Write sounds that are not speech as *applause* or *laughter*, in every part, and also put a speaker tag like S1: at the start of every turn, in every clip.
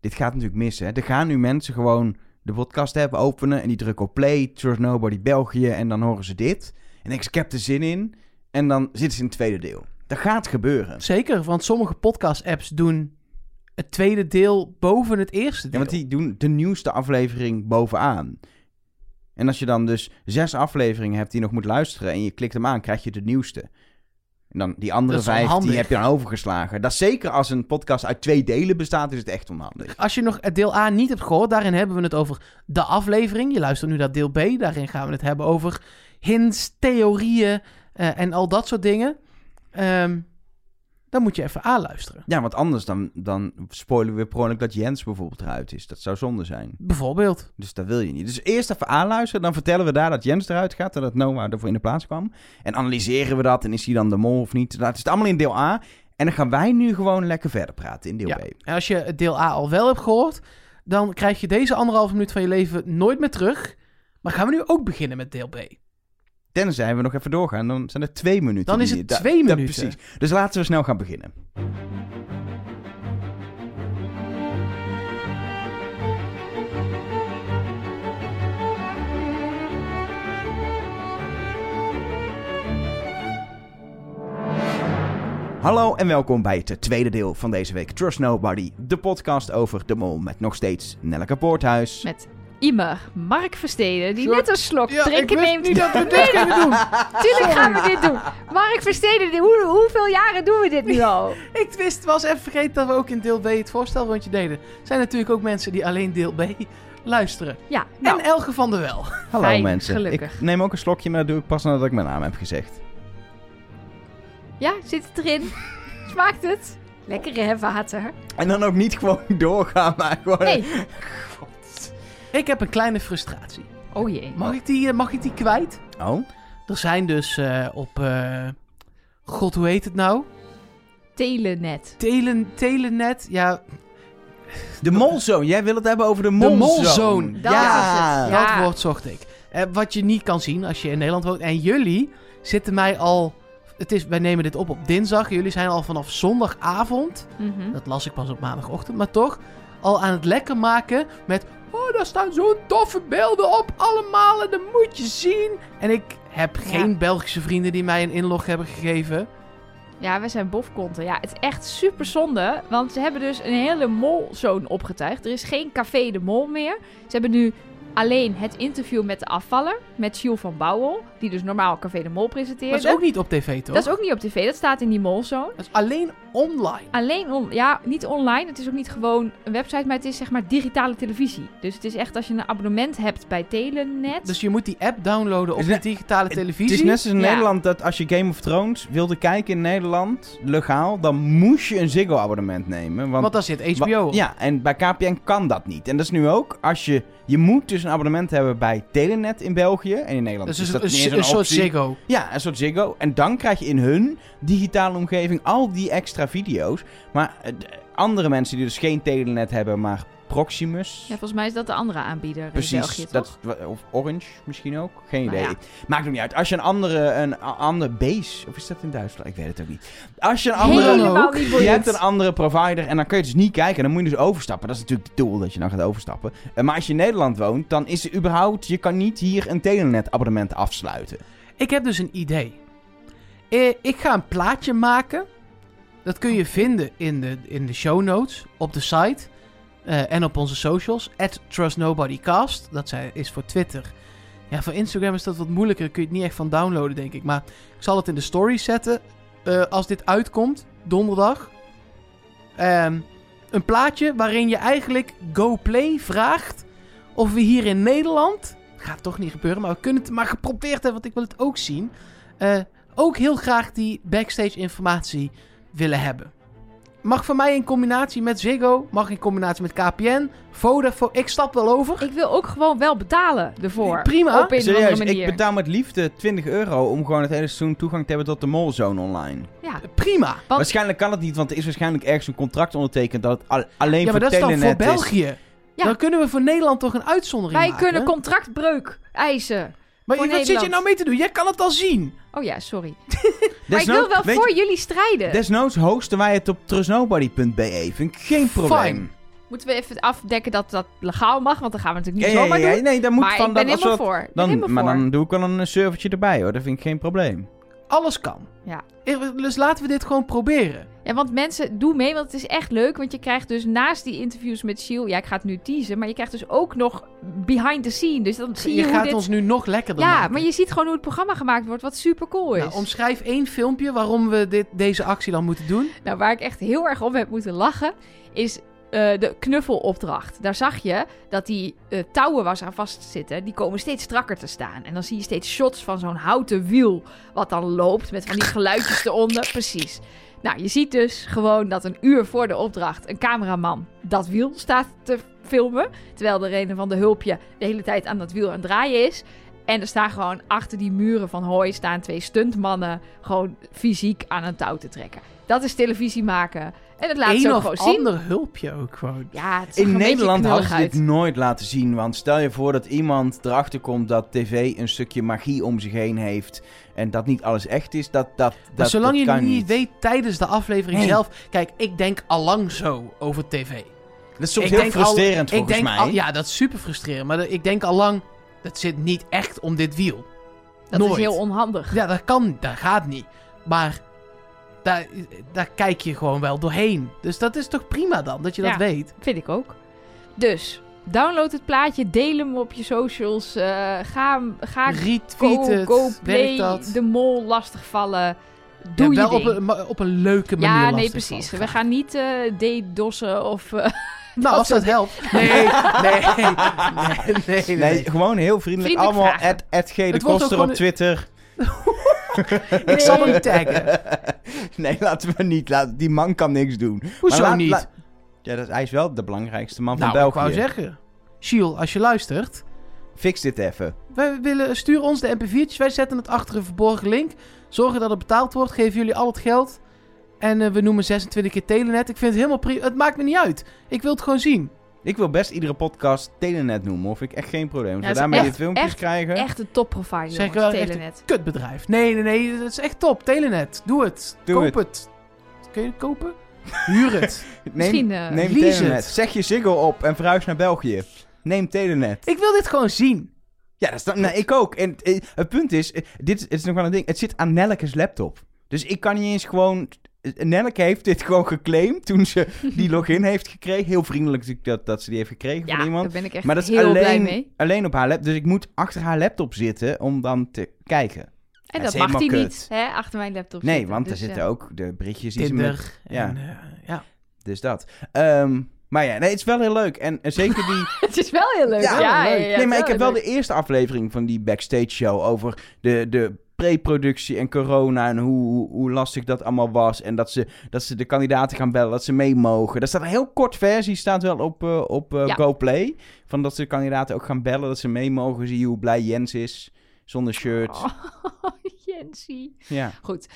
S1: dit gaat natuurlijk missen. Hè. Er gaan nu mensen gewoon de podcast hebben openen en die drukken op play, Trust Nobody België en dan horen ze dit. En ik, ik heb er zin in en dan zitten ze in het tweede deel. Dat gaat gebeuren.
S2: Zeker, want sommige podcast-apps doen het tweede deel boven het eerste
S1: Ja,
S2: deel.
S1: want die doen de nieuwste aflevering bovenaan. En als je dan dus zes afleveringen hebt die je nog moet luisteren en je klikt hem aan, krijg je de nieuwste. En dan die andere
S2: Dat is
S1: vijf,
S2: onhandig.
S1: die heb je dan overgeslagen. Dat is zeker als een podcast uit twee delen bestaat, is het echt onhandig.
S2: Als je nog het deel A niet hebt gehoord, daarin hebben we het over de aflevering. Je luistert nu naar deel B, daarin gaan we het hebben over hints, theorieën eh, en al dat soort dingen. Ehm, dan moet je even A luisteren.
S1: Ja, want anders dan, dan spoilen we weer per ongeluk dat Jens bijvoorbeeld eruit is. Dat zou zonde zijn.
S2: Bijvoorbeeld.
S1: Dus dat wil je niet. Dus eerst even aanluisteren, dan vertellen we daar dat Jens eruit gaat en dat Noah ervoor in de plaats kwam. En analyseren we dat en is hij dan de mol of niet. Dat is allemaal in deel A. En dan gaan wij nu gewoon lekker verder praten in deel
S2: Ja.
S1: B.
S2: En als je het deel A al wel hebt gehoord, dan krijg je deze anderhalve minuut van je leven nooit meer terug. Maar gaan we nu ook beginnen met deel B?
S1: Tenzij we nog even doorgaan, dan zijn er twee minuten.
S2: Dan is
S1: die-
S2: het
S1: da-
S2: twee
S1: da-
S2: minuten.
S1: Precies. Dus laten we snel gaan beginnen. Hallo en welkom bij het tweede deel van deze week Trust Nobody, de podcast over de mol met nog steeds Nelleke Poorthuis.
S3: Met immer Mark Versteden, die
S2: Soort-
S3: net een slok drinken neemt.
S2: niet dat we dit kunnen doen.
S3: Tuurlijk gaan we dit doen. Mark Versteden, die- hoe, hoeveel jaren doen we dit nu al?
S2: Ik wist, was even vergeten dat we ook in deel B het voorstelrondje deden. Er zijn natuurlijk ook mensen die alleen deel B luisteren.
S3: Ja, nou,
S2: En Elge van der Wel.
S1: Hallo
S3: Fijn,
S1: mensen.
S3: gelukkig.
S1: Ik neem ook een slokje, maar dat doe ik pas nadat ik mijn naam heb gezegd.
S3: ja, zit het erin? Smaakt het? Lekker hè, water.
S1: En dan ook niet gewoon *laughs* doorgaan, maar gewoon...
S3: Nee,
S2: Ik heb een kleine frustratie.
S3: oh jee.
S2: Mag ik die, eh, mag ik die kwijt?
S1: Oh?
S2: Er zijn dus eh, op... eh, God, hoe heet het nou?
S3: Telenet.
S2: Telen, telenet. Ja,
S1: De molzone. Jij wil het hebben over de molzone.
S2: molzone.
S3: Dat
S1: ja.
S3: is het.
S2: Dat
S3: Ja.
S2: woord zocht ik. Eh, wat je niet kan zien als je in Nederland woont. En jullie zitten mij al. Het is, wij nemen dit op op dinsdag. Jullie zijn al vanaf zondagavond.
S3: Mhm.
S2: Dat las ik pas op maandagochtend. Maar toch al aan het lekker maken met. Oh, daar staan zo'n toffe beelden op. Allemaal. En dat moet je zien. En ik heb
S3: Ja.
S2: geen Belgische vrienden die mij een inlog hebben gegeven.
S3: Ja, we zijn bofkonten. Ja, het is echt super zonde. Want ze hebben dus een hele molzone opgetuigd. Er is geen café de mol meer. Ze hebben nu alleen het interview met de afvaller. Met Jules van Bouwel. Die dus normaal café de mol presenteerde.
S2: Maar dat is ook niet op tv, toch?
S3: Dat is ook niet op tv. Dat staat in die molzone.
S2: Dat is alleen online.
S3: Alleen, on- ja, niet online. Het is ook niet gewoon een website, maar het is zeg maar digitale televisie. Dus het is echt als je een abonnement hebt bij Telenet.
S2: Dus je moet die app downloaden op
S1: Is
S2: je
S1: het-
S2: digitale
S1: Het
S2: televisie.
S1: is net als in
S3: Ja.
S1: Nederland dat als je Game of Thrones wilde kijken in Nederland, legaal, dan moest je een Ziggo-abonnement nemen. Want,
S2: Want daar zit HBO
S1: wa-
S2: op.
S1: Ja, en bij KPN kan dat niet. En dat is nu ook, als je... Je moet dus een abonnement hebben bij Telenet in België en in Nederland.
S2: Dat Dus is
S1: is
S2: een,
S1: dat
S2: een-
S1: niet eens
S2: een soort
S1: optie.
S2: Ziggo.
S1: Ja, een soort Ziggo. En dan krijg je in hun digitale omgeving al die extra video's. Maar eh, d- andere mensen die dus geen telenet hebben, maar Proximus.
S3: Ja, volgens mij is dat de andere aanbieder in België,
S1: Precies,
S3: toch?
S1: dat, of Orange misschien ook. Geen
S3: Nou
S1: idee.
S3: ja.
S1: Maakt ook niet uit. Als je een andere, een a- ander base, of is dat in Duitsland? Ik weet het ook niet. Als je een andere,
S3: Helemaal
S2: ook.
S3: niet
S1: je
S3: boeiend.
S1: hebt een andere provider en dan kun je dus niet kijken. Dan moet je dus overstappen. Dat is natuurlijk het doel dat je dan gaat overstappen. Eh, Maar als je in Nederland woont, dan is er überhaupt, je kan niet hier een telenet abonnement afsluiten.
S2: Ik heb dus een idee. Eh, Ik ga een plaatje maken. Dat kun je vinden in de, in de show notes, op de site eh, en op onze socials. At TrustNobodyCast, dat zij- is voor Twitter. Ja, voor Instagram is dat wat moeilijker. Kun je het niet echt van downloaden, denk ik. Maar ik zal het in de story zetten eh, als dit uitkomt, donderdag. Ehm, een plaatje waarin je eigenlijk GoPlay vraagt of we hier in Nederland... Gaat toch niet gebeuren, maar we kunnen het maar geprobeerd hebben, want ik wil het ook zien. eh, ook heel graag die backstage informatie willen hebben. Mag voor mij in combinatie met Ziggo, mag in combinatie met KPN, Vodafone. Ik stap wel over.
S3: Ik wil ook gewoon wel betalen ervoor.
S2: Prima.
S3: Op een of andere
S1: Serieus,
S3: manier.
S1: ik betaal met liefde 20 euro om gewoon het hele seizoen toegang te hebben tot de molzone online.
S3: Ja.
S2: Prima.
S3: Want-
S1: Waarschijnlijk kan het niet, want er is waarschijnlijk ergens een contract ondertekend dat het al- alleen
S2: Ja, maar
S1: voor
S2: dat is dan
S1: Telenet
S2: voor
S1: is.
S2: België.
S3: Ja.
S2: Dan kunnen we voor Nederland toch een uitzondering
S3: Wij
S2: maken.
S3: kunnen contractbreuk eisen.
S2: Maar
S3: voor
S2: wat zit je
S3: Nederland.
S2: nou mee te doen? Jij kan het al zien.
S3: Oh ja, sorry. Maar ik
S1: Desnoods-
S3: wil wel
S1: weet
S3: voor
S1: je,
S3: jullie strijden.
S1: Desnoods hosten wij het op trustnobody.be. Vind ik geen probleem.
S2: Fine.
S3: Moeten we even afdekken dat dat legaal mag? Want dan gaan we natuurlijk niet
S1: Ja, ja,
S3: zomaar
S1: ja, ja.
S3: doen.
S1: Nee, dan moet
S3: maar
S1: van
S3: ik
S1: dat,
S3: ben
S1: als we
S3: helemaal
S1: dat-
S3: voor. Ik ben helemaal
S1: dan, Maar
S3: voor.
S1: dan doe ik wel een eh, servertje erbij hoor. Dat vind ik geen probleem.
S2: Alles kan.
S3: Ja.
S2: Eh, Dus laten we dit gewoon proberen.
S3: Ja, want mensen, doe mee, want het is echt leuk. Want je krijgt dus naast die interviews met Shield... Ja, ik ga het nu teasen, maar je krijgt dus ook nog behind the scene. Dus dan zie je,
S2: je
S3: hoe
S2: gaat
S3: dit...
S2: ons nu nog lekkerder
S3: ja,
S2: maken.
S3: maar je ziet gewoon hoe het programma gemaakt wordt, wat super cool is.
S2: Nou, omschrijf één filmpje waarom we dit, deze actie dan moeten doen.
S3: Nou, waar ik echt heel erg om heb moeten lachen, is eh, de knuffelopdracht. Daar zag je dat die eh, touwen waar ze aan vastzitten, die komen steeds strakker te staan. En dan zie je steeds shots van zo'n houten wiel, wat dan loopt met van die geluidjes eronder. Precies. Nou, je ziet dus gewoon dat een uur voor de opdracht een cameraman dat wiel staat te filmen. Terwijl er een van de hulpje de hele tijd aan dat wiel aan het draaien is. En er staan gewoon achter die muren van hooi staan twee stuntmannen gewoon fysiek aan een touw te trekken. Dat is televisie maken. En dat laat
S2: Eén
S3: ze ook
S2: of
S3: gewoon zien.
S2: ander hulpje ook gewoon.
S3: Ja, het zag
S1: In
S3: een
S1: Nederland
S3: beetje
S1: hadden
S3: knullig
S1: ze
S3: uit.
S1: dit nooit laten zien. Want stel je voor dat iemand erachter komt dat tv een stukje magie om zich heen heeft. En dat niet alles echt is. Dat, dat,
S2: Maar
S1: dat,
S2: Dus zolang
S1: dat
S2: je
S1: kan
S2: niet, weet tijdens de aflevering
S1: Nee.
S2: zelf... Kijk, ik denk allang zo over tv.
S1: Dat is soms
S2: ik
S1: heel
S2: denk al-
S1: frustrerend
S2: ik
S1: volgens
S2: denk
S1: mij.
S2: al- ja, dat is super frustrerend. Maar dat- ik denk allang, dat zit niet echt om dit wiel.
S3: Dat
S2: nooit.
S3: is heel onhandig.
S2: Ja, dat kan, dat gaat niet. Maar daar, daar kijk je gewoon wel doorheen. Dus dat is toch prima dan, dat je
S3: Ja.
S2: dat weet.
S3: Vind ik ook. Dus, download het plaatje, deel hem op je socials. eh, ga hem- ga
S2: Retweet
S3: go,
S2: het,
S3: go
S2: werkt
S3: play,
S2: dat.
S3: de mol lastigvallen. Doe
S2: Ja,
S3: je
S2: wel
S3: ding.
S2: Op, een, ma- op een leuke manier
S3: ja, nee,
S2: lastig
S3: precies.
S2: vallen.
S3: We gaan niet eh DDoS'en of... eh,
S2: Nou, als dat *laughs* helpt. Nee,
S3: *laughs*
S2: nee, nee, *laughs* nee, nee,
S1: Nee,
S2: nee.
S1: gewoon heel vriendelijk.
S3: Vriendelijk
S1: Allemaal
S3: vragen.
S1: at, at G de
S2: Het wordt ook
S1: Koster
S2: gewoon
S1: op
S2: een-
S1: Twitter. *laughs*
S2: Ik zal hem taggen.
S1: nee, laten we niet. Laat, die man kan niks doen. Maar
S2: Hoezo
S1: laat-
S2: niet?
S1: laat- ja, dat, hij is wel de belangrijkste man
S2: nou,
S1: van
S2: ik wou
S1: België.
S2: zeggen. Shiel, als je luistert.
S1: Fix dit even.
S2: Wij willen, stuur ons de mp4'tjes. Wij zetten het achter een verborgen link. Zorgen dat het betaald wordt. Geven jullie al het geld. En eh, we noemen 26 keer Telenet. Ik vind het helemaal prima. Het maakt me niet uit. Ik wil het gewoon zien.
S1: Ik wil best iedere podcast Telenet noemen. Of ik echt geen probleem. Als
S3: Ja,
S1: we
S3: dat is
S1: daarmee
S3: echt-
S1: dit filmpjes
S3: echt-
S1: krijgen.
S3: Echt een topprovider,
S2: Zeg
S3: jongens,
S2: wel, echt een-
S3: Telenet.
S2: Kutbedrijf. Nee, nee, nee. Dat is echt top. Telenet. Doe het.
S1: Doe
S2: Koop het. Kun je het kopen? Huur
S1: *laughs*
S2: het.
S1: Neem,
S3: Misschien, eh,
S1: neem
S2: lease
S1: Telenet.
S2: het.
S1: Zeg je Ziggo op en verhuis naar België. Neem Telenet.
S2: Ik wil dit gewoon zien.
S1: Ja, dat is dan, nee, ik ook. En eh, het punt is, eh, dit is, het is nog wel een ding. Het zit aan Nelleke's laptop. Dus ik kan niet eens gewoon... eh, Nelleke heeft dit *laughs* gewoon geclaimd toen ze
S3: *laughs*
S1: die login heeft gekregen. Heel vriendelijk natuurlijk dat, dat ze die heeft gekregen
S3: Ja,
S1: van iemand.
S3: daar ben ik echt
S1: Maar dat is
S3: heel blij
S1: alleen,
S3: mee.
S1: alleen op haar laptop. Dus ik moet achter haar laptop zitten om dan te kijken. dat
S3: En dat
S1: is
S3: mag hij
S1: helemaal kut.
S3: niet, hè, achter mijn laptop
S1: Nee,
S3: zitten.
S1: want
S3: Dus,
S1: er
S3: eh,
S1: zitten ook de berichtjes die ze met
S2: Tinder.
S1: ja.
S2: En, eh, ja.
S1: Dus dat. Ehm, maar ja, nee, het is wel heel leuk. En eh, zeker die...
S3: Het is wel heel leuk. Ja,
S1: Ja,
S3: ja, ja,
S1: nee, maar
S3: het
S1: ik heb
S3: heel
S1: wel
S3: leuk.
S1: de eerste aflevering van die backstage show over de, de pre-productie en corona en hoe, hoe, hoe lastig dat allemaal was. En dat ze, dat ze de kandidaten gaan bellen, dat ze mee mogen. Daar staat een heel kort versie, staat wel op, eh, op eh,
S3: Ja.
S1: GoPlay. Van dat ze de kandidaten ook gaan bellen, dat ze mee mogen. Zie je hoe blij Jens is, zonder shirt.
S3: Oh, *laughs* Jensie.
S1: Ja.
S3: Goed,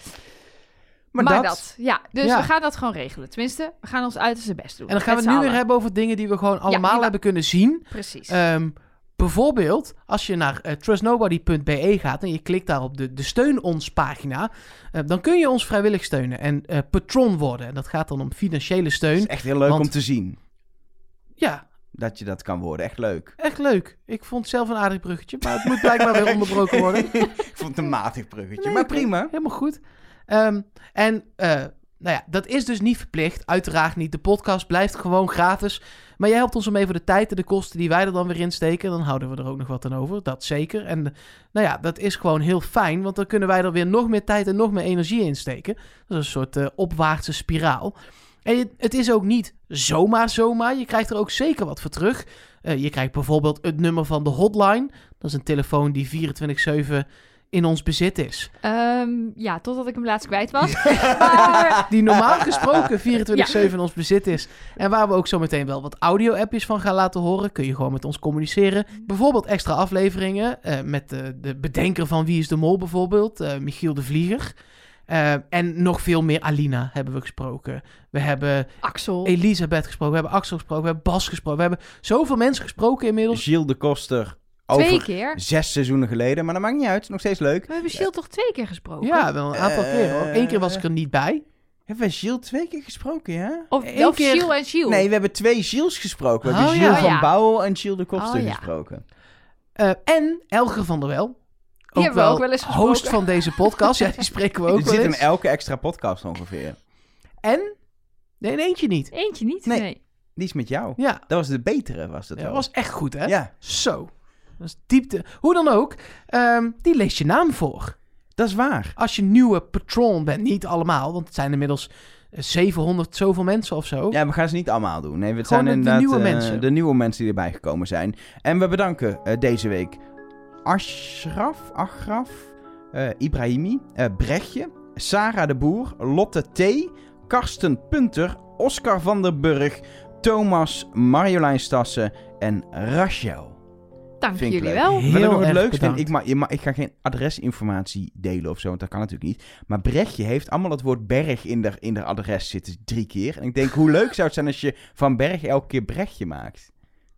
S1: Maar, dat,
S3: Ja, dus
S2: Ja.
S3: we gaan dat gewoon regelen. Tenminste, we gaan ons uiterste best doen.
S2: en dan gaan we
S3: Met
S2: het nu
S3: z'n
S2: weer
S3: allen.
S2: hebben over dingen die we gewoon allemaal
S3: maar-
S2: hebben kunnen zien.
S3: Precies.
S2: Ehm, bijvoorbeeld, als je naar eh, trustnobody.be E gaat en je klikt daar op de, de steun ons pagina, eh, dan kun je ons vrijwillig steunen en eh, patron worden. En dat gaat dan om financiële
S1: Het is
S2: steun.
S1: echt heel leuk
S2: Want-
S1: om te zien
S2: Ja,
S1: dat je dat kan worden. Echt leuk.
S2: echt leuk. Ik vond het zelf een aardig bruggetje, maar het moet blijkbaar
S1: *laughs*
S2: weer onderbroken worden.
S1: Ik vond het een matig bruggetje,
S2: Nee,
S1: maar
S2: oké.
S1: prima.
S2: Helemaal goed. Ehm, en eh, nou ja, dat is dus niet verplicht. Uiteraard niet. De podcast blijft gewoon gratis. Maar jij helpt ons om even de tijd en de kosten die wij er dan weer in steken. Dan houden we er ook nog wat aan over. Dat zeker. En eh, nou ja, dat is gewoon heel fijn. Want dan kunnen wij er weer nog meer tijd en nog meer energie in steken. Dat is een soort eh, opwaartse spiraal. En je- het is ook niet zomaar zomaar. Je krijgt er ook zeker wat voor terug. Eh, je krijgt bijvoorbeeld het nummer van de hotline. Dat is een telefoon die 24-7 in ons bezit is.
S3: Ehm, ja, totdat ik hem laatst kwijt
S2: *laughs*
S3: was. maar,
S2: die normaal gesproken 24-7 in ons bezit is. En waar we ook zo meteen wel wat audio-appjes van gaan laten horen. Kun je gewoon met ons communiceren. Bijvoorbeeld extra afleveringen eh, met de, de bedenker van Wie is de Mol bijvoorbeeld. eh, Michiel de Vlieger. Eh, en nog veel meer Alina hebben we gesproken. We hebben
S3: Axel.
S2: Elisabeth gesproken. We hebben Axel gesproken. We hebben Bas gesproken. We hebben zoveel mensen gesproken inmiddels.
S1: Gilles de Koster
S3: Twee
S1: over
S3: keer.
S1: zes seizoenen geleden. Maar dat maakt niet uit. Nog steeds leuk.
S3: We hebben Shield toch twee keer gesproken?
S2: Ja, wel een aantal
S1: Eh.
S2: keer hoor. Eén keer was ik er niet bij.
S1: Hebben wij Gilles twee keer gesproken, hè?
S3: Of,
S2: Eén
S3: of
S2: keer-
S3: Shiel en Shiel.
S1: Nee, we hebben twee Gilles gesproken. We
S2: Oh,
S1: hebben
S2: ja.
S1: Gilles
S3: Oh,
S1: van
S3: ja.
S1: Bouwel en Gilles de Koster
S3: Oh, ja.
S1: gesproken.
S2: Eh, en Elger van der Wel. Ook
S3: hebben we ook wel eens gesproken.
S2: host van deze podcast. ja, die
S1: *laughs*
S2: spreken we ook
S1: Dit
S2: wel
S1: zit in
S2: eens.
S1: elke extra podcast ongeveer.
S2: En? Nee, in eentje niet.
S3: Eentje niet,
S1: Nee.
S3: nee.
S1: Die is met jou.
S2: Ja,
S1: Dat was de betere, was dat
S2: dat
S1: wel.
S2: was echt goed, hè?
S1: Ja,
S2: Zo. Dat is diepte. Hoe dan ook, ehm, die leest je naam voor.
S1: dat is waar.
S2: Als je nieuwe patron bent, niet allemaal, want het zijn inmiddels eh, 700 zoveel mensen of zo.
S1: Ja, we gaan ze niet allemaal doen. Nee, het zijn
S2: Gewoon de- de
S1: inderdaad
S2: nieuwe
S1: eh,
S2: mensen.
S1: de nieuwe mensen die erbij gekomen zijn. En we bedanken eh, deze week Ashraf, Agraf, eh, Ibrahimi, eh, Brechtje, Sarah de Boer, Lotte T, Karsten Punter, Oscar van der Burg, Thomas, Marjolein Stassen en Rachel.
S3: Dank
S1: Vind ik
S3: jullie
S1: leuk.
S3: wel.
S2: Heel
S1: Wat ik nog het
S2: erg
S1: leukste vind,
S2: bedankt.
S1: ik, ma je ma- ik ga geen adresinformatie delen of zo, want dat kan natuurlijk niet. Maar Brechtje heeft allemaal het woord berg in de, in de adres zitten, drie keer. En ik denk, hoe leuk zou het zijn als je van berg elke keer Brechtje maakt?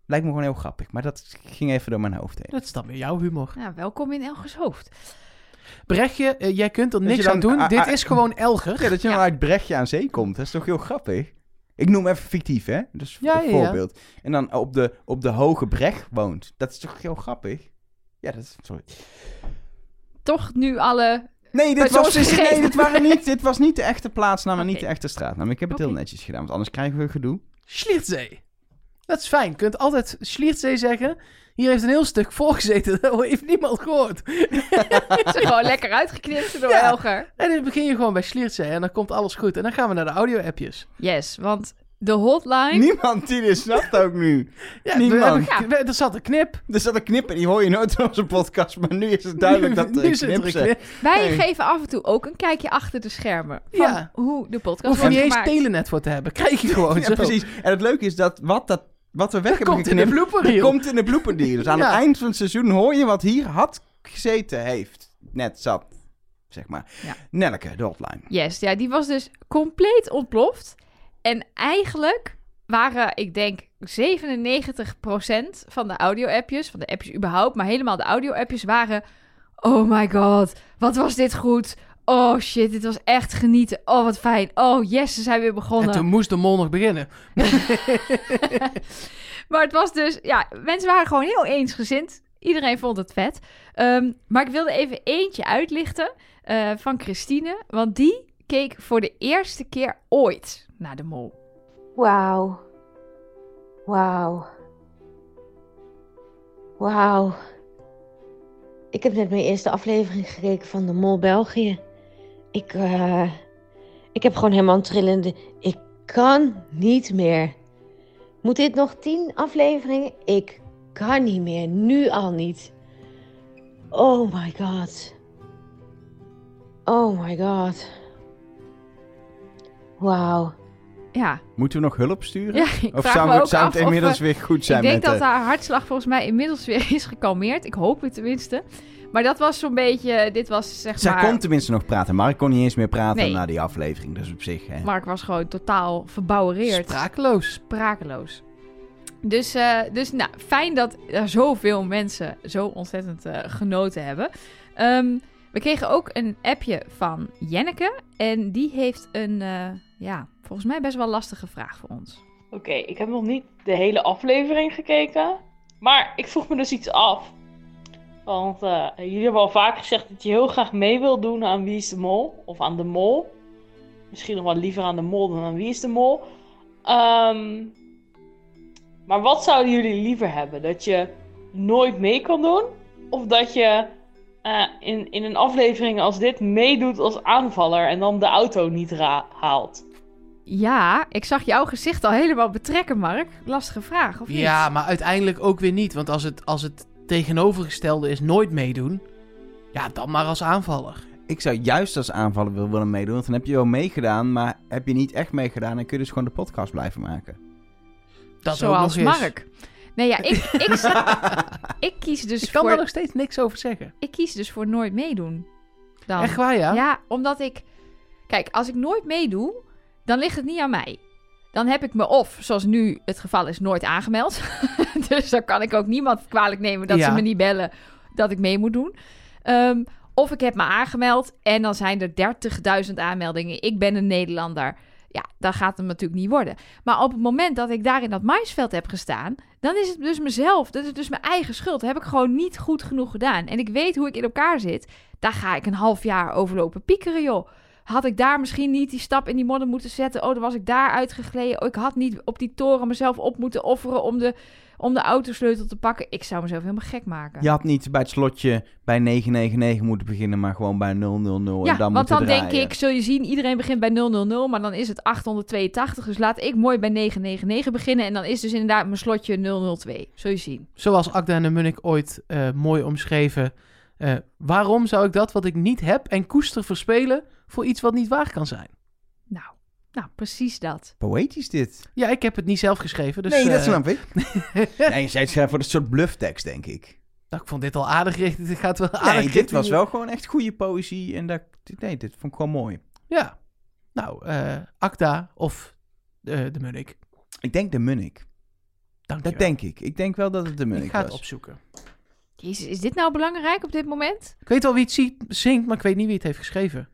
S1: Lijkt me gewoon heel grappig, maar dat ging even door mijn hoofd heen.
S2: Dat is dan weer jouw humor.
S3: Nou, welkom in Elgers hoofd.
S2: Brechtje, eh, jij kunt er
S1: Dat je
S2: niks
S1: dan-
S2: aan doen.
S1: ah,
S2: Dit
S1: ah,
S2: is gewoon Elger.
S1: Ja, dat je dan
S3: Ja.
S1: uit Brechtje aan zee komt, dat is toch heel grappig? Ik noem even fictief, hè? Dus
S2: Ja,
S1: een
S2: ja, ja.
S1: voorbeeld. En dan op de, op de hoge Brecht woont. Dat is toch heel grappig? Ja, dat is... Sorry.
S3: Toch
S2: *laughs*
S3: nu alle...
S1: Nee, dit, was,
S3: Persoonsgegevens.
S1: nee dit, waren niet, dit was niet de
S3: *laughs*
S1: echte plaatsnaam en niet
S3: Oké.
S1: de echte straatnaam. Ik heb het
S3: Oké.
S1: heel netjes gedaan, want anders krijgen we gedoe.
S2: Schliertzee. Dat is fijn. Je kunt altijd Schliertzee zeggen. Hier heeft een heel stuk voor gezeten. *laughs* Dat heeft niemand gehoord.
S3: Het is gewoon lekker uitgeknipt door
S2: Ja.
S3: Elger.
S2: En dan begin je gewoon bij Schliertzee. En dan komt alles goed. En dan gaan we naar de audio-appjes.
S3: Yes, want de hotline...
S1: Niemand die dit snapt ook nu.
S2: Ja,
S1: Niemand.
S2: we hebben- we- Er zat een knip.
S1: Er zat een knip en die hoor je nooit in onze podcast, maar nu is het
S2: *laughs*
S1: duidelijk
S3: *laughs*
S1: dat er
S2: Nu
S1: een
S2: zit er
S1: knip zit.
S3: Wij
S1: Hey.
S3: geven af en toe ook een kijkje achter de schermen. Van
S2: Ja.
S3: hoe de podcast
S2: Hoef je
S3: wordt
S2: niet eens
S3: gemaakt.
S2: telenet voor te hebben. Krijg
S1: *laughs*
S2: je gewoon zo.
S1: Ja, precies. En het leuke is dat wat, dat, wat we weg hebben
S2: Komt in de
S1: geknipt,
S2: blooper
S1: dat
S2: reel.
S1: komt in de blooper reel. Dus aan
S2: Ja.
S1: het eind van het seizoen hoor je wat hier had gezeten heeft. Net zat, zeg maar.
S3: Ja.
S1: Nelke, de hotline.
S3: Yes, ja, die was dus compleet ontploft. En eigenlijk waren, ik denk, 97% van de audio-appjes, van de appjes überhaupt, maar helemaal de audio-appjes waren... Oh my god, wat was dit goed. Oh shit, dit was echt genieten. Oh, wat fijn. Oh yes, ze zijn weer
S2: En
S3: begonnen.
S2: toen moest de mol nog beginnen.
S3: Maar het was dus, ja, mensen waren gewoon heel eensgezind. Iedereen vond het vet. Ehm, maar ik wilde even eentje uitlichten eh, van Christine. Want die keek voor de eerste keer ooit naar de mol.
S4: Wauw. Wauw. Wauw. Ik heb net mijn eerste aflevering gekeken van De Mol België. Ik, eh, ik heb gewoon helemaal een trillende... Ik kan niet meer. Moet dit nog tien afleveringen? Ik kan niet meer. Nu al niet. Oh my god. Oh my god. Wauw.
S3: Ja,
S1: Moeten we nog hulp sturen?
S3: ja ik
S1: of
S3: vraag
S1: zou,
S3: me ook
S1: zou
S3: af
S1: het
S3: of
S1: inmiddels
S3: we-
S1: weer goed zijn
S3: Ik denk
S1: met
S3: dat
S1: de-
S3: haar hartslag volgens mij inmiddels weer is gekalmeerd. Ik hoop het tenminste. Maar dat was zo'n beetje, dit was zeg
S1: Zij
S3: maar...
S1: kon tenminste nog praten. Mark kon niet eens meer praten
S3: Nee.
S1: na die aflevering. Dus op zich. Hè.
S3: Mark was gewoon totaal verbouwereerd.
S2: Sprakeloos.
S3: sprakeloos. Dus, eh, dus nou, fijn dat er zoveel mensen zo ontzettend eh, genoten hebben. Ehm, we kregen ook een appje van Jenneke. En die heeft een, eh, ja, volgens mij best wel lastige vraag voor ons.
S5: Oké, ik heb nog niet de hele aflevering gekeken. Maar ik vroeg me dus iets af. Want eh, jullie hebben al vaak gezegd dat je heel graag mee wil doen aan Wie is de Mol? Of aan de Mol. Misschien nog wel liever aan de Mol dan aan Wie is de Mol. Ehm, maar wat zouden jullie liever hebben? Dat je nooit mee kan doen? Of dat je eh, in, in een aflevering als dit meedoet als aanvaller en dan de auto niet ra- haalt?
S3: Ja, ik zag jouw gezicht al helemaal betrekken, Mark. Lastige vraag, of niet?
S2: Ja, maar uiteindelijk ook weer niet. Want als het, als het tegenovergestelde is nooit meedoen... Ja, dan maar als aanvaller.
S1: Ik zou juist als aanvaller wil- willen meedoen. Want dan heb je wel meegedaan, maar heb je niet echt meegedaan. Dan kun je dus gewoon de podcast blijven maken.
S2: Dat
S3: Zoals
S2: ook nog eens.
S3: Mark. Nee, ja, ik,
S2: *laughs*
S3: ik, ik, kies dus
S2: Ik kan
S3: voor,
S2: daar nog steeds niks over zeggen.
S3: ik kies dus voor nooit meedoen. Dan.
S2: Echt waar, ja?
S3: Ja, omdat ik... Kijk, als ik nooit meedoe, dan ligt het niet aan mij. Dan heb ik me of, zoals nu het geval is, nooit aangemeld. *laughs* dus dan kan ik ook niemand kwalijk nemen dat
S2: Ja.
S3: ze me niet bellen dat ik mee moet doen. Ehm, Of ik heb me aangemeld en dan zijn er 30.000 aanmeldingen. Ik ben een Nederlander. Ja, dat gaat hem natuurlijk niet worden. Maar op het moment dat ik daar in dat maisveld heb gestaan, dan is het dus mezelf. Dat is dus mijn eigen schuld. Dat heb ik gewoon niet goed genoeg gedaan. En ik weet hoe ik in elkaar zit. Daar ga ik een half jaar overlopen piekeren, joh. Had ik daar misschien niet die stap in die modder moeten zetten? Oh, dan was ik daar uitgegleden. Oh, ik had niet op die toren mezelf op moeten offeren om de, om de autosleutel te pakken. Ik zou mezelf helemaal gek maken.
S1: Je had niet bij het slotje bij 999 moeten beginnen, maar gewoon bij 000
S3: Ja,
S1: en dan
S3: want
S1: moeten
S3: dan denk
S1: draaien.
S3: ik, zul je zien, iedereen begint bij 000, maar dan is het 882. Dus laat ik mooi bij 999 beginnen. En dan is dus inderdaad mijn slotje 002. Zul je zien.
S2: Zoals Akda en de Munnik ooit eh, mooi omschreven. eh, waarom zou ik dat wat ik niet heb en koester verspelen voor iets wat niet waar kan zijn?
S3: Nou, nou precies dat.
S1: Poëtisch dit.
S2: Ja, ik heb het niet zelf geschreven. Dus,
S1: nee, dat
S2: eh,
S1: snap ik.
S3: *laughs*
S1: nee, zij schrijft voor een soort blufftekst, denk ik.
S2: nou, ik vond dit al aardig richting. *laughs* Dit gaat wel aardig
S1: Nee, dit
S2: richting-
S1: was wel gewoon echt goede poëzie. En dat, dit- nee, dit vond ik gewoon mooi.
S2: Ja. Nou, eh Akda of eh, de Munnik.
S1: Ik denk de Munnik.
S2: Dank
S1: Dat
S2: je wel.
S1: denk ik. Ik denk wel dat het de Munnik
S2: Ik ga het
S1: was.
S2: opzoeken.
S3: Jezus, is dit nou belangrijk op dit moment?
S2: Ik weet wel wie het zie- zingt, maar ik weet niet wie het heeft geschreven.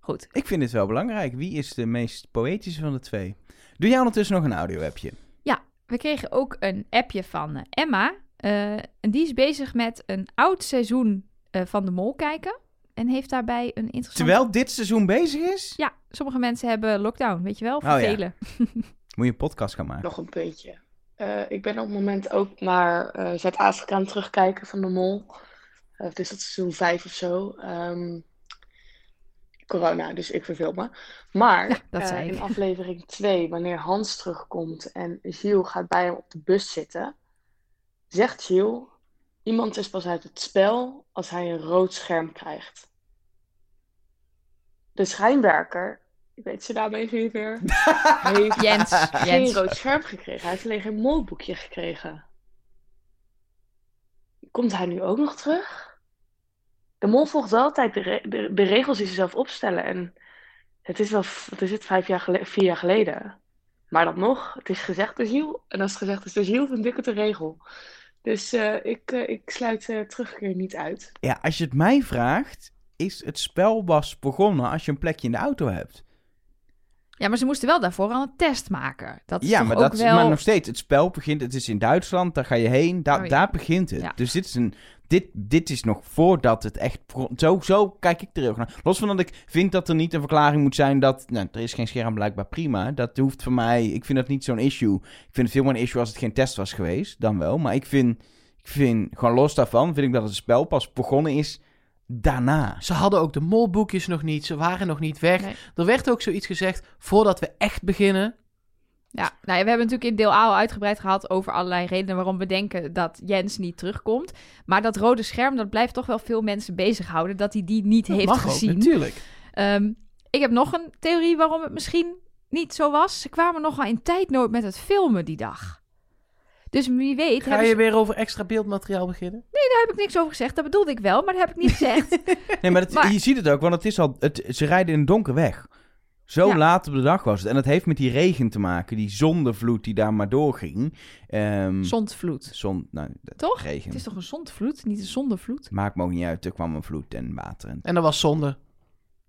S3: Goed.
S1: Ik vind het wel belangrijk. Wie is de meest poëtische van de twee? Doe jij ondertussen nog een audio-appje?
S3: We kregen ook een appje van eh, Emma. Eh, en die is bezig met een oud seizoen eh, van de mol kijken. En heeft daarbij een interessante...
S1: Terwijl dit seizoen bezig is,
S3: Ja, sommige mensen hebben lockdown, weet je wel?
S1: Oh, ja.
S3: Vervelen.
S1: moet je een podcast gaan maken.
S6: Nog een puntje. Eh, ik ben op het moment ook naar eh, Zuid-Afrika aan het terugkijken van de Mol. Eh het is dat seizoen 5 of zo. Ehm, corona, dus ik verveel me. Maar
S3: Ja, dat
S6: eh,
S3: zei ik. *laughs*
S6: in aflevering 2, wanneer Hans terugkomt en Gilles gaat bij hem op de bus zitten, zegt Gilles: Iemand is pas uit het spel als hij een rood scherm krijgt. De schijnwerker, ik weet zijn naam even niet meer, heeft
S3: Jens,
S6: *laughs* geen
S3: Jens.
S6: rood scherm gekregen. Hij heeft alleen een molboekje gekregen. Komt hij nu ook nog terug? De mol volgt wel altijd de, re- de, de regels die ze zelf opstellen. En het is wel, v- wat is het, vijf jaar geleden, vier jaar geleden. Maar dan nog, het is gezegd door Giel. En als het gezegd is door Giel, vind ik het een regel. Dus eh, ik, eh, ik sluit eh, terugkeer niet uit.
S1: Ja, als je het mij vraagt, is het spel pas begonnen als je een plekje in de auto hebt.
S3: Ja, maar ze moesten wel daarvoor al een test maken. Dat is
S1: ja,
S3: toch
S1: maar,
S3: ook
S1: dat, is-
S3: wel...
S1: maar nog steeds, het spel begint, het is in Duitsland, daar ga je heen, daar
S3: Oh ja.
S1: daar begint het.
S3: Ja.
S1: Dus dit is, een, dit, dit is nog voordat het echt... begon. Zo, zo kijk ik er ook naar. Los van dat ik vind dat er niet een verklaring moet zijn dat... Nou, er is geen scherm, blijkbaar prima. Dat hoeft voor mij... Ik vind dat niet zo'n issue. Ik vind het veel meer een issue als het geen test was geweest, dan wel. Maar ik vind, ik vind gewoon los daarvan, vind ik dat het spel pas begonnen is daarna.
S2: Ze hadden ook de molboekjes nog niet. Ze waren nog niet weg.
S3: Nee.
S2: Er werd ook zoiets gezegd voordat we echt beginnen.
S3: Ja, nou ja, we hebben natuurlijk in deel A al uitgebreid gehad over allerlei redenen waarom we denken dat Jens niet terugkomt. Maar dat rode scherm, dat blijft toch wel veel mensen bezighouden, dat hij die niet
S2: Dat
S3: heeft
S2: mag ook,
S3: gezien.
S2: natuurlijk.
S3: Ehm, ik heb nog een theorie waarom het misschien niet zo was. Ze kwamen nogal in tijdnood met het filmen die dag. Dus wie weet,
S2: Ga
S3: hebben
S2: je
S3: ze-
S2: weer over extra beeldmateriaal beginnen?
S3: daar heb ik niks over gezegd. Dat bedoelde ik wel, maar dat heb ik niet
S2: *laughs*
S3: gezegd.
S1: Nee, maar, dat-
S3: Maar-
S1: je ziet het ook, want het is al, het, ze rijden in het donker weg. Zo
S3: Ja.
S1: laat op de dag was het. En dat heeft met die regen te maken, die zondevloed die daar maar doorging. Ehm
S3: Zondvloed.
S1: zon, nou, dat-
S3: Toch?
S1: Regen.
S3: Het is toch een zondvloed, niet een zondevloed?
S1: Maakt me ook niet uit, er kwam een vloed en water. En
S2: En dat was zonde.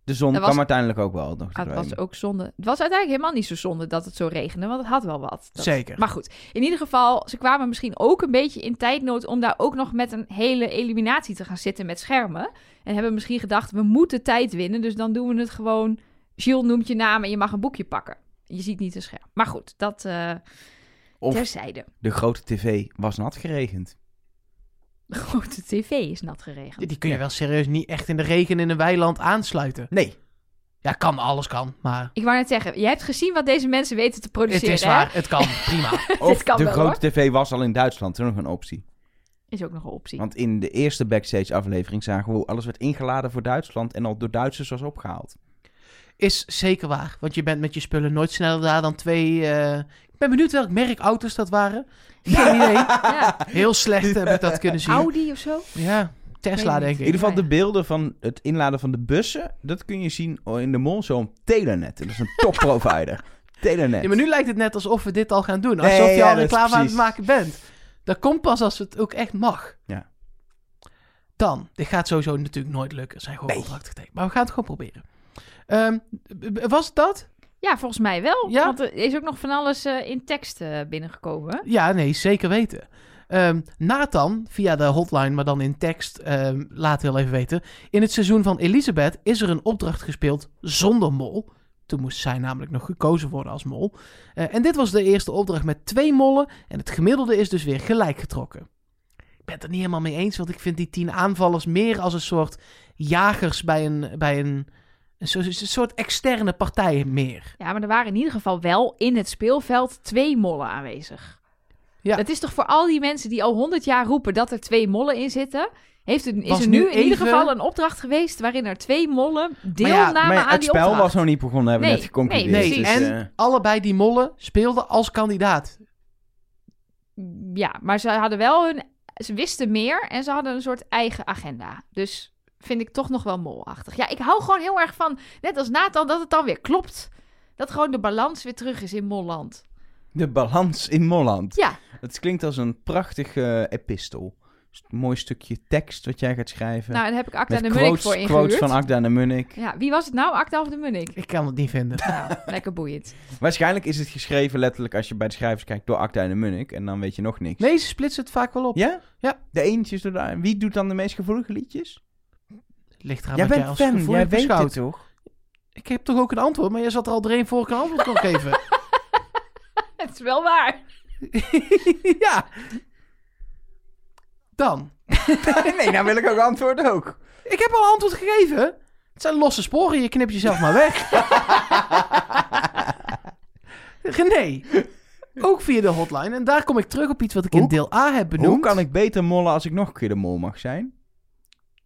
S1: de zon
S3: Dat was-
S1: kwam uiteindelijk ook wel nog
S3: Ah, het was
S1: doorheen.
S3: ook zonde. Het was uiteindelijk helemaal niet zo zonde dat het zo regende, want het had wel wat. Dat-
S2: Zeker.
S3: Maar goed, in ieder geval, ze kwamen misschien ook een beetje in tijdnood om daar ook nog met een hele eliminatie te gaan zitten met schermen. En hebben misschien gedacht, we moeten tijd winnen, dus dan doen we het gewoon. Gilles noemt je naam en je mag een boekje pakken. Je ziet niet een scherm. Maar goed, dat eh
S1: Of
S3: terzijde.
S1: de grote tv was nat geregend.
S3: De grote tv is nat geregend.
S2: Die kun je wel serieus niet echt in de regen in een weiland aansluiten.
S3: *laughs*
S1: Nee,
S2: Ja, kan, alles kan. Maar
S3: Ik wou net zeggen, je hebt gezien wat deze mensen weten te
S2: het
S3: produceren.
S2: is
S3: hè? *laughs*
S2: waar. Het kan. Prima. *laughs*
S1: of
S3: kan
S1: de
S3: wel,
S1: grote tv was al in Duitsland, toen nog een optie.
S3: Is ook nog een optie.
S1: Want in de eerste backstage aflevering zagen we hoe alles werd ingeladen voor Duitsland en al door Duitsers was opgehaald.
S2: Is zeker waar. Want je bent met je spullen nooit sneller daar dan twee... eh, Ik ben benieuwd welk merk auto's dat waren. Geen *laughs* idee.
S3: Ja,
S2: Heel slecht heb ik dat kunnen zien.
S3: Audi of zo?
S2: Ja, Tesla
S3: Weet ik
S2: denk
S1: In
S2: ik.
S1: ieder geval
S3: Ja, ja.
S1: de beelden van het inladen van de bussen, dat kun je zien in de mol zo'n telenet. Dat is
S3: *laughs*
S1: een topprovider. telenet.
S2: Ja, maar nu lijkt het net alsof we dit al gaan doen. Alsof
S1: Nee,
S2: je
S1: ja,
S2: al
S1: dat is
S2: reclame aan
S1: precies.
S2: het maken bent. Dat komt pas als het ook echt mag.
S1: Ja.
S2: Dan, dit gaat sowieso natuurlijk nooit lukken. Zijn gewoon
S1: Nee.
S2: contracten getekend. Maar we gaan het gewoon proberen. Ehm, b- b- was het dat?
S3: Ja, volgens mij wel.
S2: Ja?
S3: Want er is ook nog van alles eh, in tekst eh, binnengekomen. hè?
S2: Ja, nee, zeker weten. Ehm, Nathan, via de hotline, maar dan in tekst, ehm, laat heel even weten. In het seizoen van Elisabeth is er een opdracht gespeeld zonder mol. Toen moest zij namelijk nog gekozen worden als mol. Eh, en dit was de eerste opdracht met twee mollen. En het gemiddelde is dus weer gelijk getrokken. Ik ben het er niet helemaal mee eens, want ik vind die tien aanvallers meer als een soort jagers bij een, bij een, een, soort, een soort externe partij meer.
S3: Ja, maar er waren in ieder geval wel in het speelveld twee mollen aanwezig.
S2: Ja.
S3: Dat is toch voor al die mensen die al honderd jaar roepen dat er twee mollen in zitten. Heeft er, is
S2: Was
S3: er nu
S2: nu
S3: in ieder
S2: even-
S3: geval een opdracht geweest waarin er twee mollen
S2: ja,
S3: deelnamen
S2: maar
S1: Maar ja,
S3: aan
S1: het
S3: die
S1: spel
S3: opdracht.
S1: was nog niet begonnen, hebben we
S3: Nee,
S1: net geconcludeerd.
S3: nee,
S2: Nee,
S1: dus,
S2: en
S1: eh,
S2: allebei die mollen speelden als kandidaat.
S3: Ja, maar ze hadden wel hun... Ze wisten meer en ze hadden een soort eigen agenda. Dus vind ik toch nog wel molachtig. Ja, ik hou gewoon heel erg van, net als Nathan, dat het dan weer klopt. Dat gewoon de balans weer terug is in molland. Nou,
S1: de balans in Molland.
S3: Ja.
S1: Het klinkt als een prachtige eh, epistel. Dus een mooi stukje tekst wat jij gaat schrijven.
S3: Nou, daar heb ik Acta
S1: met
S3: de Munnik
S1: quotes,
S3: voor ingehuurd.
S1: quotes van Akda de Munnik.
S3: Ja, wie was het nou? Acta of de *laughs* Munnik?
S2: Ik kan het niet vinden.
S3: Nou, lekker boeiend.
S1: Waarschijnlijk is het geschreven letterlijk als je bij de schrijvers kijkt door Akda de Munnik. En dan weet je nog niks.
S2: Nee, ze splitsen het vaak wel op.
S1: Ja?
S2: Ja.
S1: De eentjes door de... Wie doet dan de meest gevoelige liedjes?
S2: Ligt eraan
S1: jij
S2: wat
S1: bent
S2: jij als
S1: fan,
S2: gevoelig
S1: jij weet
S2: beschouwt.
S1: het toch?
S2: Ik heb toch ook een antwoord, maar jij zat er al doorheen voor ik een antwoord kon
S1: *laughs*
S2: geven.
S3: Het is wel waar.
S2: ja. Dan.
S1: *laughs* nee, nou wil ik ook antwoord ook.
S2: Ik heb al een antwoord gegeven. Het zijn losse sporen, je knipt jezelf maar
S1: *laughs*
S2: weg. René. Ook via de hotline. En daar kom ik terug op iets wat ik in
S1: Hoe-
S2: deel A heb benoemd.
S1: Hoe kan ik beter mollen als ik nog een keer de mol mag zijn?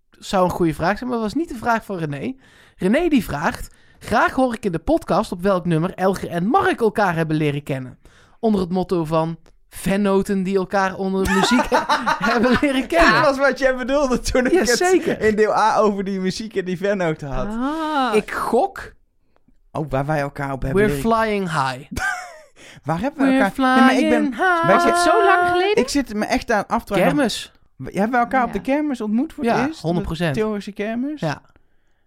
S2: zou een goede vraag zijn, maar was niet de vraag van René. René die vraagt: Graag hoor ik in de podcast op welk nummer Elger en Mark elkaar hebben leren kennen. Onder het motto van vennoten die elkaar onder de
S3: *laughs*
S2: muziek he- hebben leren kennen.
S1: Dat was wat jij bedoelde toen ik
S2: Ja,
S1: het
S2: zeker.
S1: in deel A over die muziek en die vennoten had.
S3: Ah,
S2: Ik gok,
S1: Oh, waar wij elkaar op hebben
S2: we're
S1: leren-
S2: flying high.
S1: Waar hebben we
S2: We're
S1: elkaar...
S2: flying
S1: Nee, maar ik ben...
S2: high.
S1: wij
S3: was het
S1: zitten-
S3: zo lang geleden?
S1: Ah. Ik zit me echt aan af te vragen.
S2: Kermis.
S1: Hebben we elkaar op
S3: Ja.
S1: de kermis ontmoet voor
S2: Ja,
S1: het eerst?
S2: 100%.
S1: De Tilburgse kermis?
S2: Ja,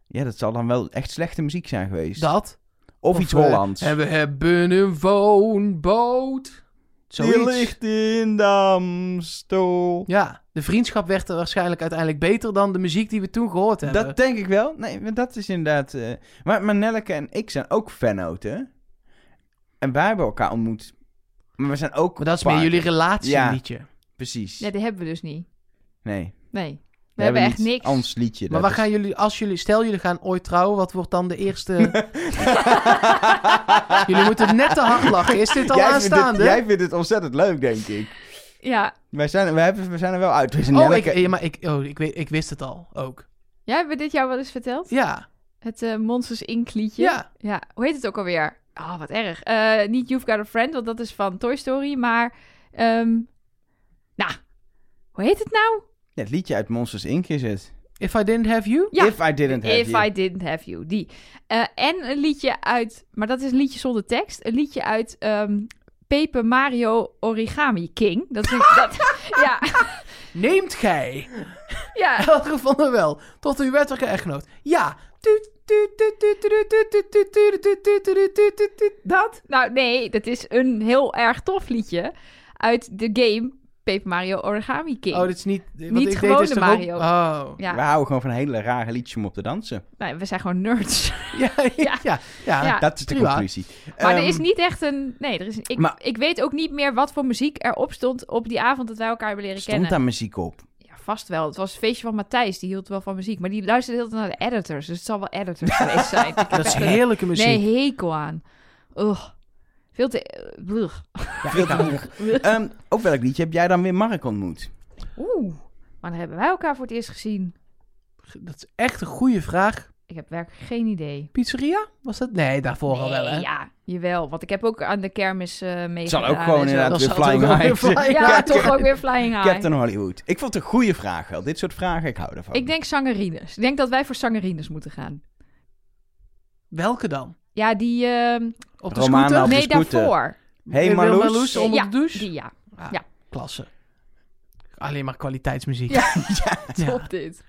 S1: Ja, dat zal dan wel echt slechte muziek zijn geweest.
S2: dat.
S1: of, iets
S2: eh,
S1: Hollands.
S2: en we hebben een woonboot.
S1: Die
S2: Zoiets.
S1: ligt in Damstel.
S2: Ja, de vriendschap werd er waarschijnlijk uiteindelijk beter dan de muziek die we toen gehoord hebben.
S1: Dat denk ik wel. Nee, maar dat is inderdaad... eh, Maar, maar Nelleke en ik zijn ook fanoten. En wij hebben elkaar ontmoet. Maar we zijn ook...
S2: Maar dat is
S1: paar-
S2: meer jullie
S1: Ja.
S2: relatieliedje.
S1: Precies.
S3: Ja, die hebben we dus niet.
S1: Nee. We,
S3: Nee, we, hebben echt
S1: niet
S3: niks.
S1: Ons liedje.
S2: Maar
S1: dat
S2: waar gaan
S1: *laughs*
S2: jullie, als jullie, stel jullie gaan ooit trouwen, wat wordt dan de eerste? *laughs* jullie moeten net te hard lachen. Is dit al
S1: jij Vindt
S2: aanstaande?
S1: het, jij vindt het ontzettend leuk, denk ik.
S3: Ja,
S1: Wij zijn, wij hebben, we zijn er wel uit. We zijn
S2: Oh, ik,
S1: Nelleke-
S2: eh, maar ik, oh ik, weet, ik wist het al ook.
S3: jij hebben we dit jou wel eens verteld?
S2: Ja,
S3: Het eh, Monsters Inc. liedje.
S2: ja.
S3: Ja, hoe heet het ook alweer? Oh, wat erg. Eh, niet You've Got a Friend, want dat is van Toy Story, maar... ehm, nou, hoe heet het nou?
S1: Ja, het liedje uit Monsters Inc. is het.
S2: If I didn't have you?
S3: Ja.
S1: If I didn't have
S3: If
S1: you.
S3: I Didn't Have You, die. Eh, en een liedje uit, maar dat is een liedje zonder tekst. Een liedje uit ehm Paper Mario Origami King. Dat is een-
S1: *laughs*
S3: dat, ja,
S2: Neemt gij?
S3: ja,
S2: Elke van der wel. Tot uw wettelijke echtgenoot. Ja. Tuut, tuut, tuut, tuut, tuut, tuut, tuut, tuut, tuut, tuut, tuut, tuut, tuut, tuut, tuut. Dat?
S3: nou nee, dat is een heel erg tof liedje uit de game Paper Mario Origami King.
S2: Oh, dit is niet... wat
S3: Niet
S2: ik deed
S3: gewone
S2: is toch ook-
S3: Mario.
S2: Oh. *laughs*
S1: We
S3: Ja,
S1: houden gewoon van hele rare liedjes om op te dansen.
S3: nou, we zijn gewoon nerds. *laughs*
S2: Ja, ja, ja.
S3: Ja.
S1: dat is de
S2: prima.
S1: conclusie.
S3: Maar er
S1: Ehm,
S3: is niet echt een. Nee, er is, ik,
S1: maar-
S3: ik weet ook niet meer wat voor muziek erop stond op die avond dat wij elkaar hebben leren
S1: Stond
S3: kennen.
S1: daar muziek op?
S3: Ja, vast wel. Het was een feestje van Matthijs, die hield wel van muziek. Maar die luisterde heel naar de editors. Dus het zal wel
S1: *laughs*
S3: editors geweest zijn. Ik heb
S2: Dat is
S3: echt een-
S2: heerlijke muziek.
S3: Nee, hekel aan. Ugh. Veel te. eh, blech.
S1: Ja, ik ga terug. Ehm, op welk liedje heb jij dan weer Mark ontmoet?
S3: Oeh. Wanneer hebben wij elkaar voor het eerst gezien?
S2: Dat is echt een goede vraag.
S3: Ik heb werkelijk geen idee.
S2: Pizzeria? Was dat? Nee, daarvoor al wel, hè?
S3: Nee, ja, jawel. Want ik heb ook aan de kermis eh meegedaan.
S1: Het zal ook gewoon
S3: en zo.
S1: inderdaad
S2: Dat
S1: weer
S2: zal toch
S1: Flying
S2: ook weer
S1: High.
S2: Flying
S1: *laughs*
S2: High.
S3: Ja,
S1: Captain-
S3: toch ook weer Flying High.
S1: Captain Hollywood. Ik vond het een goede vraag wel. Dit soort vragen, ik hou ervan.
S3: Ik denk sangerines. Ik denk dat wij voor sangerines moeten gaan.
S2: Welke dan?
S3: Ja, die. ehm,
S2: Op de
S1: Romana
S2: scooter?
S1: op de
S3: nee,
S1: scooter.
S3: daarvoor.
S1: Hey
S2: Wil
S1: Marloes.
S2: Marloes onder
S3: Ja,
S2: de douche?
S3: Die ja.
S2: Ah,
S3: Ja.
S2: Klasse. Alleen maar kwaliteitsmuziek.
S3: *laughs* Ja.
S2: *laughs* Ja.
S3: Top dit.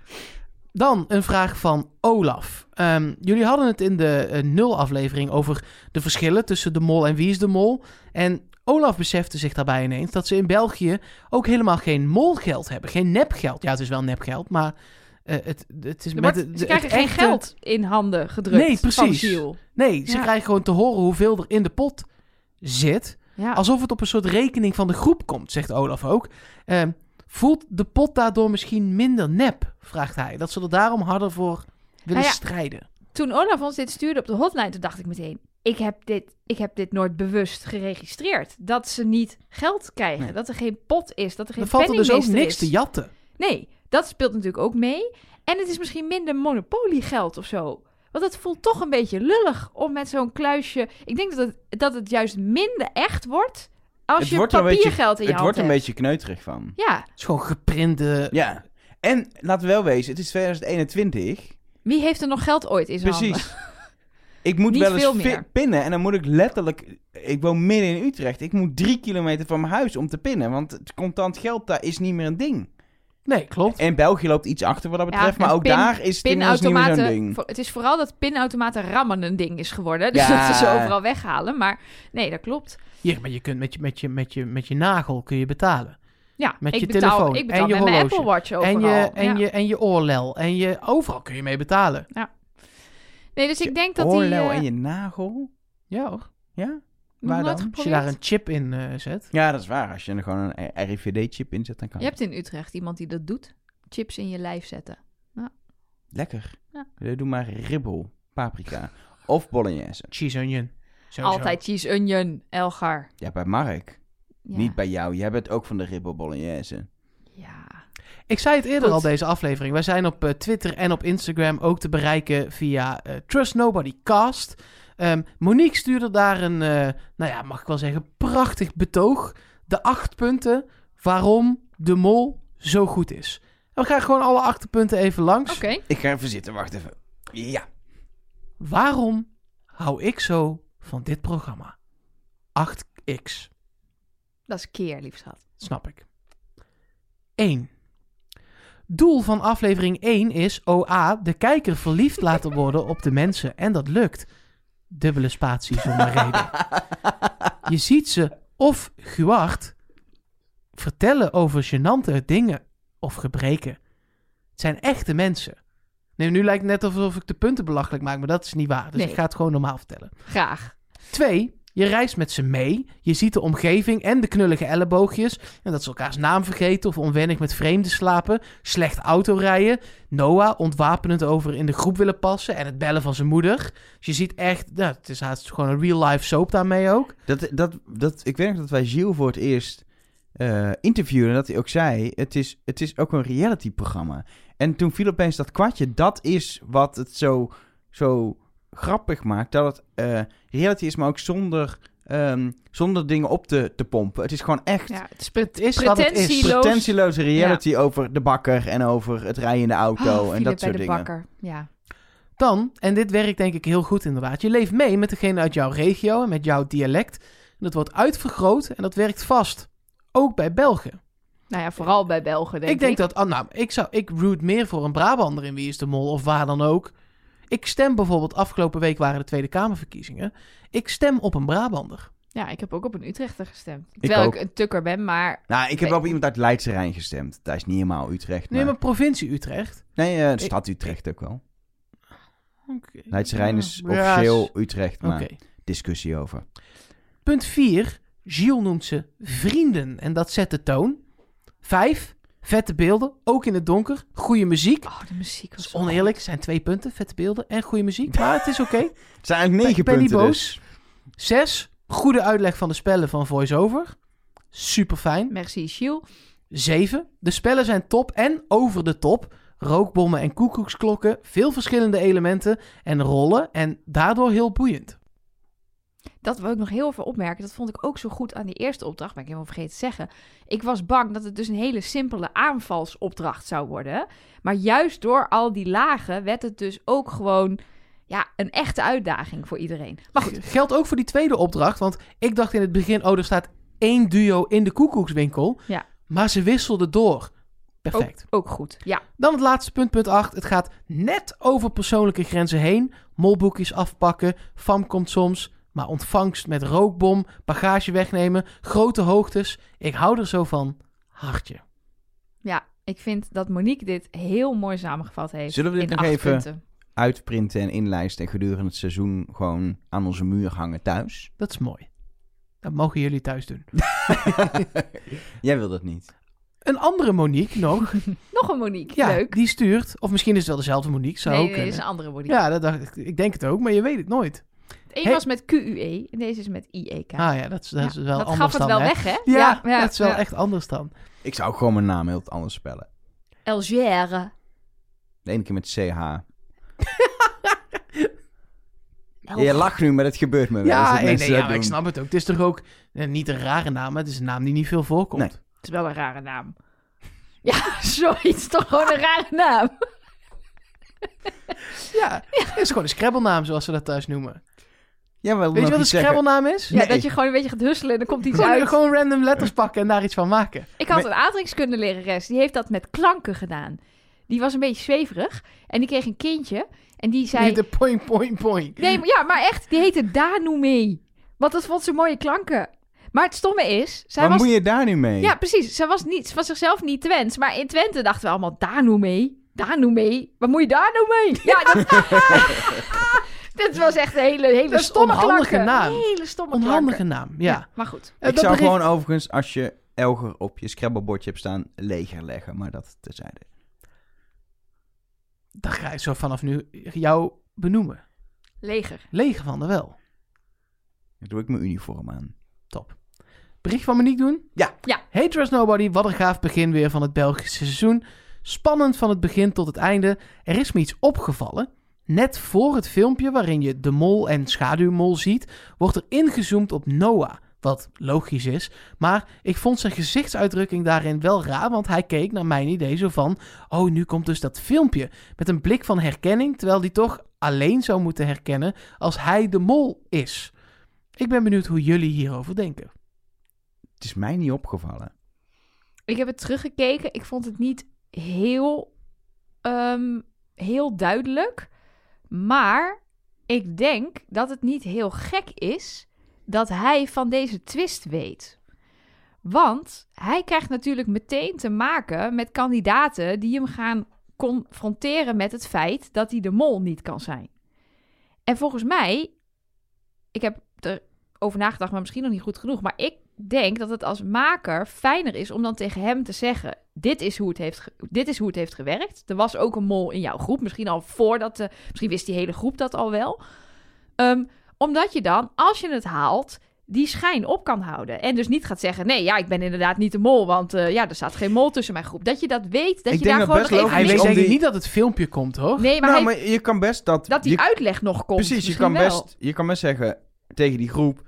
S2: Dan een vraag van Olaf. Ehm, jullie hadden het in de eh, nul aflevering over de verschillen tussen de mol en wie is de mol. En Olaf besefte zich daarbij ineens dat ze in België ook helemaal geen molgeld hebben. Geen nepgeld. Ja, het is wel nepgeld, maar eh, het, het is
S3: Er
S2: met
S3: wordt-
S2: de- de-
S3: ze krijgen
S2: het
S3: geen
S2: echte-
S3: geld in handen gedrukt
S2: Nee,
S3: van
S2: precies.
S3: Giel.
S2: Nee, ze
S3: Ja.
S2: krijgen gewoon te horen hoeveel er in de pot zit.
S3: Ja.
S2: Alsof het op een soort rekening van de groep komt, zegt Olaf ook. Ehm, voelt de pot daardoor misschien minder nep, vraagt hij. Dat ze er daarom harder voor willen
S3: Nou ja.
S2: strijden.
S3: Toen Olaf ons dit stuurde op de hotline, toen dacht ik meteen... Ik heb, dit, ik heb dit nooit bewust geregistreerd. Dat ze niet geld krijgen.
S1: Nee.
S3: Dat er geen pot is. Dat er geen
S2: Dan valt er dus ook
S3: penningmeester
S2: niks
S3: is.
S2: te jatten.
S3: Nee, dat speelt natuurlijk ook mee. En het is misschien minder monopoliegeld of zo. Want het voelt toch een beetje lullig om met zo'n kluisje... Ik denk dat het, dat het juist minder echt wordt als
S1: Het
S3: je
S1: wordt er een beetje-
S3: papiergeld in je
S1: Het
S3: hand
S1: wordt een
S3: hebt.
S1: beetje kneuterig van.
S3: Ja,
S2: Het is gewoon geprinte...
S1: Ja. En laten we wel wezen, het is 2021.
S3: wie heeft er nog geld ooit in zijn handen?
S1: Precies. Ik moet
S3: Niet
S1: wel eens
S3: veel
S1: fi-
S3: meer.
S1: pinnen en dan moet ik letterlijk... Ik woon midden in Utrecht. Ik moet drie kilometer van mijn huis om te pinnen. Want het contant geld daar is niet meer een ding.
S2: Nee, klopt.
S1: En België loopt iets achter wat dat
S3: Ja,
S1: betreft. maar
S3: en
S1: ook
S3: pin-
S1: daar is het inmiddels niet meer zo'n
S3: Pinautomaten.
S1: ding.
S3: vo- Het is vooral dat pinautomaten rammen een ding is geworden. *laughs* Dus
S1: Ja.
S3: dat ze ze overal weghalen. Maar nee, dat klopt.
S2: Ja, maar je kunt met je, met je, met je, met je nagel kun je betalen.
S3: Ja,
S2: Met
S3: ik
S2: je
S3: betaal,
S2: telefoon
S3: Ik betaal
S2: en je
S3: met mijn
S2: horloge.
S3: Apple Watch overal.
S2: En je, en,
S3: Ja.
S2: je, en je oorlel. En je, overal kun je mee betalen.
S3: Nee, dus ik denk dat die...
S1: Oorlel
S3: eh,
S1: en je nagel.
S2: Ja hoor.
S1: Ja?
S3: nog
S1: waar
S3: nooit
S1: dan?
S2: Als je daar een
S3: eh, geprobeerd?
S2: chip in eh, zet.
S1: Ja, dat is waar. Als je er gewoon een RIVD-chip in zet, dan kan
S3: Je hebt in Utrecht iemand die dat doet. Chips in je lijf zetten.
S1: het. Lekker. Eh,
S3: Ja.
S1: Doe maar ribbel, paprika *laughs* of bolognese.
S2: Cheese onion. Sowieso.
S3: Altijd cheese onion, Elgar.
S1: Ja, bij Mark.
S3: Ja.
S1: Niet bij jou. Jij bent ook van de ribbel bolognese.
S3: Ja.
S2: Ik zei het eerder
S3: Goed.
S2: al deze aflevering. Wij zijn op eh, Twitter en op Instagram ook te bereiken via eh, Trust Nobody Cast. Ehm, Monique stuurde daar een, eh, nou ja, mag ik wel zeggen, prachtig betoog. De acht punten waarom de mol zo goed is. En we gaan gewoon alle acht punten even langs.
S3: Oké.
S1: Ik ga even zitten. Wacht even. Ja.
S2: Waarom hou ik zo van dit programma? 8x.
S3: Dat is keer, lief schat.
S2: Snap ik. 1. Doel van aflevering 1 is OA de kijker verliefd laten worden op de mensen. En dat lukt. Dubbele spatie zonder reden. Je ziet ze of gewacht vertellen over gênante dingen of gebreken. Het zijn echte mensen. Nee, nu lijkt het net alsof ik de punten belachelijk maak, maar dat is niet waar. Dus
S3: Nee.
S2: ik ga het gewoon normaal vertellen.
S3: Graag.
S2: Twee, je reist met ze mee. Je ziet de omgeving en de knullige elleboogjes. En dat ze elkaars naam vergeten of onwennig met vreemden slapen. Slecht autorijden. Noah ontwapenend over in de groep willen passen. En het bellen van zijn moeder. Dus je ziet echt, nou, het is haast gewoon een real life soap daarmee ook.
S1: Dat, dat, dat, ik weet nog dat wij Gilles voor het eerst eh interviewden. En dat hij ook zei, het is, het is ook een realityprogramma. En toen viel opeens dat kwartje. Dat is wat het zo, zo grappig maakt. Dat het eh, reality is, maar ook zonder, ehm, zonder dingen op te, te pompen. Het is gewoon echt
S3: Ja, het is
S2: Het is wat het is.
S3: Pretentieloos.
S1: pretentieloze reality over de bakker en over het rijden in de
S3: Oh,
S1: auto en dat
S3: Philip bij
S1: soort
S3: de
S1: dingen.
S3: bakker. Ja.
S2: Dan, en dit werkt denk ik heel goed inderdaad, je leeft mee met degene uit jouw regio en met jouw dialect. En dat wordt uitvergroot en dat werkt vast. Ook bij Belgen.
S3: Nou ja, vooral bij Belgen, denk ik.
S2: ik denk dat, ah, nou, ik zou, ik root meer voor een Brabander in Wie is de Mol of waar dan ook. Ik stem bijvoorbeeld, afgelopen week waren de Tweede Kamerverkiezingen. Ik stem op een Brabander.
S3: Ja, ik heb ook op een Utrechter gestemd. Terwijl
S1: ook.
S3: ik een tukker ben, maar
S1: Nou, ik heb wel op iemand uit Leidse Rijn gestemd. Dat is niet helemaal Utrecht.
S2: Nee,
S1: maar-
S2: maar provincie Utrecht.
S1: Nee, eh, de stad Utrecht ook wel.
S2: Oké.
S1: Leidse Rijn is
S2: Ja,
S1: officieel
S2: is-
S1: Utrecht,
S2: Oké.
S1: maar discussie over.
S2: Punt 4. Gilles noemt ze vrienden en dat zet de toon. 5. Vette beelden, ook in het donker. Goede muziek.
S3: Oh, de muziek
S2: Dat is
S3: was
S2: oneerlijk, zijn twee punten, vette beelden en goede muziek. Maar het is oké. *laughs*
S1: Het zijn eigenlijk negen
S2: Ik ben niet
S1: punten
S2: boos.
S1: dus.
S2: Zes, goede uitleg van de spellen van VoiceOver. Super fijn.
S3: Merci, Gilles.
S2: Zeven, de spellen zijn top en over de top. Rookbommen en koekoeksklokken, veel verschillende elementen en rollen en daardoor heel boeiend.
S3: Dat wil ik nog heel even opmerken. Dat vond ik ook zo goed aan die eerste opdracht. Ben ik helemaal vergeten te zeggen. Ik was bang dat het dus een hele simpele aanvalsopdracht zou worden. Maar juist door al die lagen werd het dus ook gewoon ja, een echte uitdaging voor iedereen. Maar goed,
S2: Geldt ook voor die tweede opdracht, want ik dacht in het begin, oh, er staat één duo in de koekoekswinkel.
S3: Ja.
S2: Maar ze wisselden door. Perfect.
S3: Ook goed. Ja.
S2: Dan het laatste punt, punt 8. Het gaat net over persoonlijke grenzen heen. Molboekjes afpakken, FAM komt soms, maar ontvangst met rookbom, bagage wegnemen, grote hoogtes. Ik hou er zo van. Hartje.
S3: ja, ik vind dat Monique dit heel mooi samengevat heeft.
S1: Zullen we dit
S3: in
S1: nog
S3: acht
S1: even-
S3: punten.
S1: Uitprinten en inlijsten en gedurende het seizoen gewoon aan onze muur hangen
S2: *laughs*
S1: thuis.
S2: Dat is mooi. Dat mogen jullie thuis doen.
S1: Jij wil dat niet.
S2: Een andere Monique
S3: *laughs*
S2: nog.
S3: Nog een Monique.
S2: Ja,
S3: Leuk.
S2: die stuurt. Of misschien is het wel dezelfde Monique. Zou
S3: nee,
S2: ook
S3: nee, dit is een
S2: kunnen.
S3: andere Monique.
S2: Ja, dat dacht ik. Ik denk het ook, maar je weet het nooit.
S3: Het een
S2: Hey.
S3: was met QUE en deze is met IEK.
S2: Ah ja, dat is, dat is
S3: Ja,
S2: wel
S3: dat
S2: anders
S3: gaf het
S2: dan,
S3: wel
S2: hè?
S3: weg, hè?
S2: Ja, *laughs* dat is wel
S3: ja.
S2: echt anders dan.
S1: Ik zou ook gewoon mijn naam heel anders spellen.
S3: Algère.
S1: De ene keer met
S2: *laughs*
S1: CH. Je lacht nu, maar dat gebeurt me wel. eens,
S2: Ja,
S1: dat
S2: nee,
S1: mensen
S2: nee, ja
S1: dat
S2: maar ik
S1: doen.
S2: snap het ook. Het is toch ook eh, niet een rare naam, maar het is een naam die niet veel voorkomt.
S1: Nee.
S3: Het is wel een rare naam. *laughs* Ja, zoiets. Toch gewoon een rare naam.
S2: Ja, het is gewoon een scrabbelnaam, zoals ze dat thuis noemen.
S1: Ja, maar
S2: Weet je wat een
S1: iets zeggen.
S2: scrabbelnaam is?
S3: Ja,
S1: Nee.
S3: dat je gewoon een beetje gaat husselen en er komt iets
S2: Gewoon,
S3: uit.
S2: gewoon random letters pakken en daar iets van maken.
S3: Ik had
S1: Maar-
S3: een aardrijkskundelerares, die heeft dat met klanken gedaan. Die was een beetje zweverig en die kreeg een kindje. En die zei...
S2: Niet de point, point, point.
S3: Nee, maar, ja, maar echt, die heette Danu mee. Want dat vond ze mooie klanken. Maar het stomme is, zij
S1: Waar
S3: was...
S1: moet je daar nu mee?
S3: Ja, precies. Zij was, niet, ze was zichzelf niet Twents. Maar in Twente dachten we allemaal, Danu mee. Danu mee. Wat moet je daar nou
S2: *laughs*
S3: mee? Ja, dat... *laughs* Dit was echt een hele, hele
S2: Dat is
S3: stomme
S2: onhandige
S3: klanken.
S2: naam.
S3: Hele stomme
S2: Onhandige
S3: klanken.
S2: naam, ja.
S3: Maar goed.
S2: Eh,
S1: ik
S2: dat
S1: zou
S2: bericht-
S1: gewoon overigens, als je Elger op je scrabblebordje hebt staan, leger leggen. Maar dat terzijde.
S2: Dan ga ik zo vanaf nu jou benoemen.
S3: Leger.
S2: Leger van de wel.
S1: Dan doe ik mijn uniform aan.
S2: Top. Bericht van Monique doen?
S1: Ja.
S3: Ja.
S2: Hey Trust Nobody, wat een gaaf begin weer van het Belgische seizoen. Spannend van het begin tot het einde. Er is me iets opgevallen. Net voor het filmpje waarin je de mol en schaduwmol ziet, wordt er ingezoomd op Noah. Wat logisch is. Maar ik vond zijn gezichtsuitdrukking daarin wel raar, want hij keek naar mijn idee zo van... Oh, nu komt dus dat filmpje. Met een blik van herkenning, terwijl die toch alleen zou moeten herkennen als hij de mol is. Ik ben benieuwd hoe jullie hierover denken.
S1: Het is mij niet opgevallen.
S3: Ik heb het teruggekeken. Ik vond het niet heel, ehm, heel duidelijk. Maar ik denk dat het niet heel gek is dat hij van deze twist weet. Want hij krijgt natuurlijk meteen te maken met kandidaten die hem gaan confronteren met het feit dat hij de mol niet kan zijn. En volgens mij, ik heb er over nagedacht, maar misschien nog niet goed genoeg. Maar ik denk dat het als maker fijner is om dan tegen hem te zeggen: Dit is hoe het heeft, ge- dit is hoe het heeft gewerkt. Er was ook een mol in jouw groep. Misschien al voordat de. Misschien wist die hele groep dat al wel. Ehm, omdat je dan, als je het haalt, die schijn op kan houden. En dus niet gaat zeggen: Nee, ja, ik ben inderdaad niet de mol. Want eh, ja, er staat geen mol tussen mijn groep. Dat je dat weet. Dat
S1: Ik
S3: je
S1: denk dat
S3: daar gewoon nog
S1: best
S3: even.
S1: logisch
S2: Hij
S1: is
S2: weet
S1: om
S2: zeker
S1: die-
S2: niet dat het filmpje komt, hoor.
S3: Nee, maar,
S1: nou,
S3: hij-
S1: maar je kan best dat...
S3: dat die
S1: je,
S3: uitleg nog komt.
S1: Precies, je
S3: misschien
S1: kan best,
S3: wel.
S1: je kan best zeggen tegen die groep...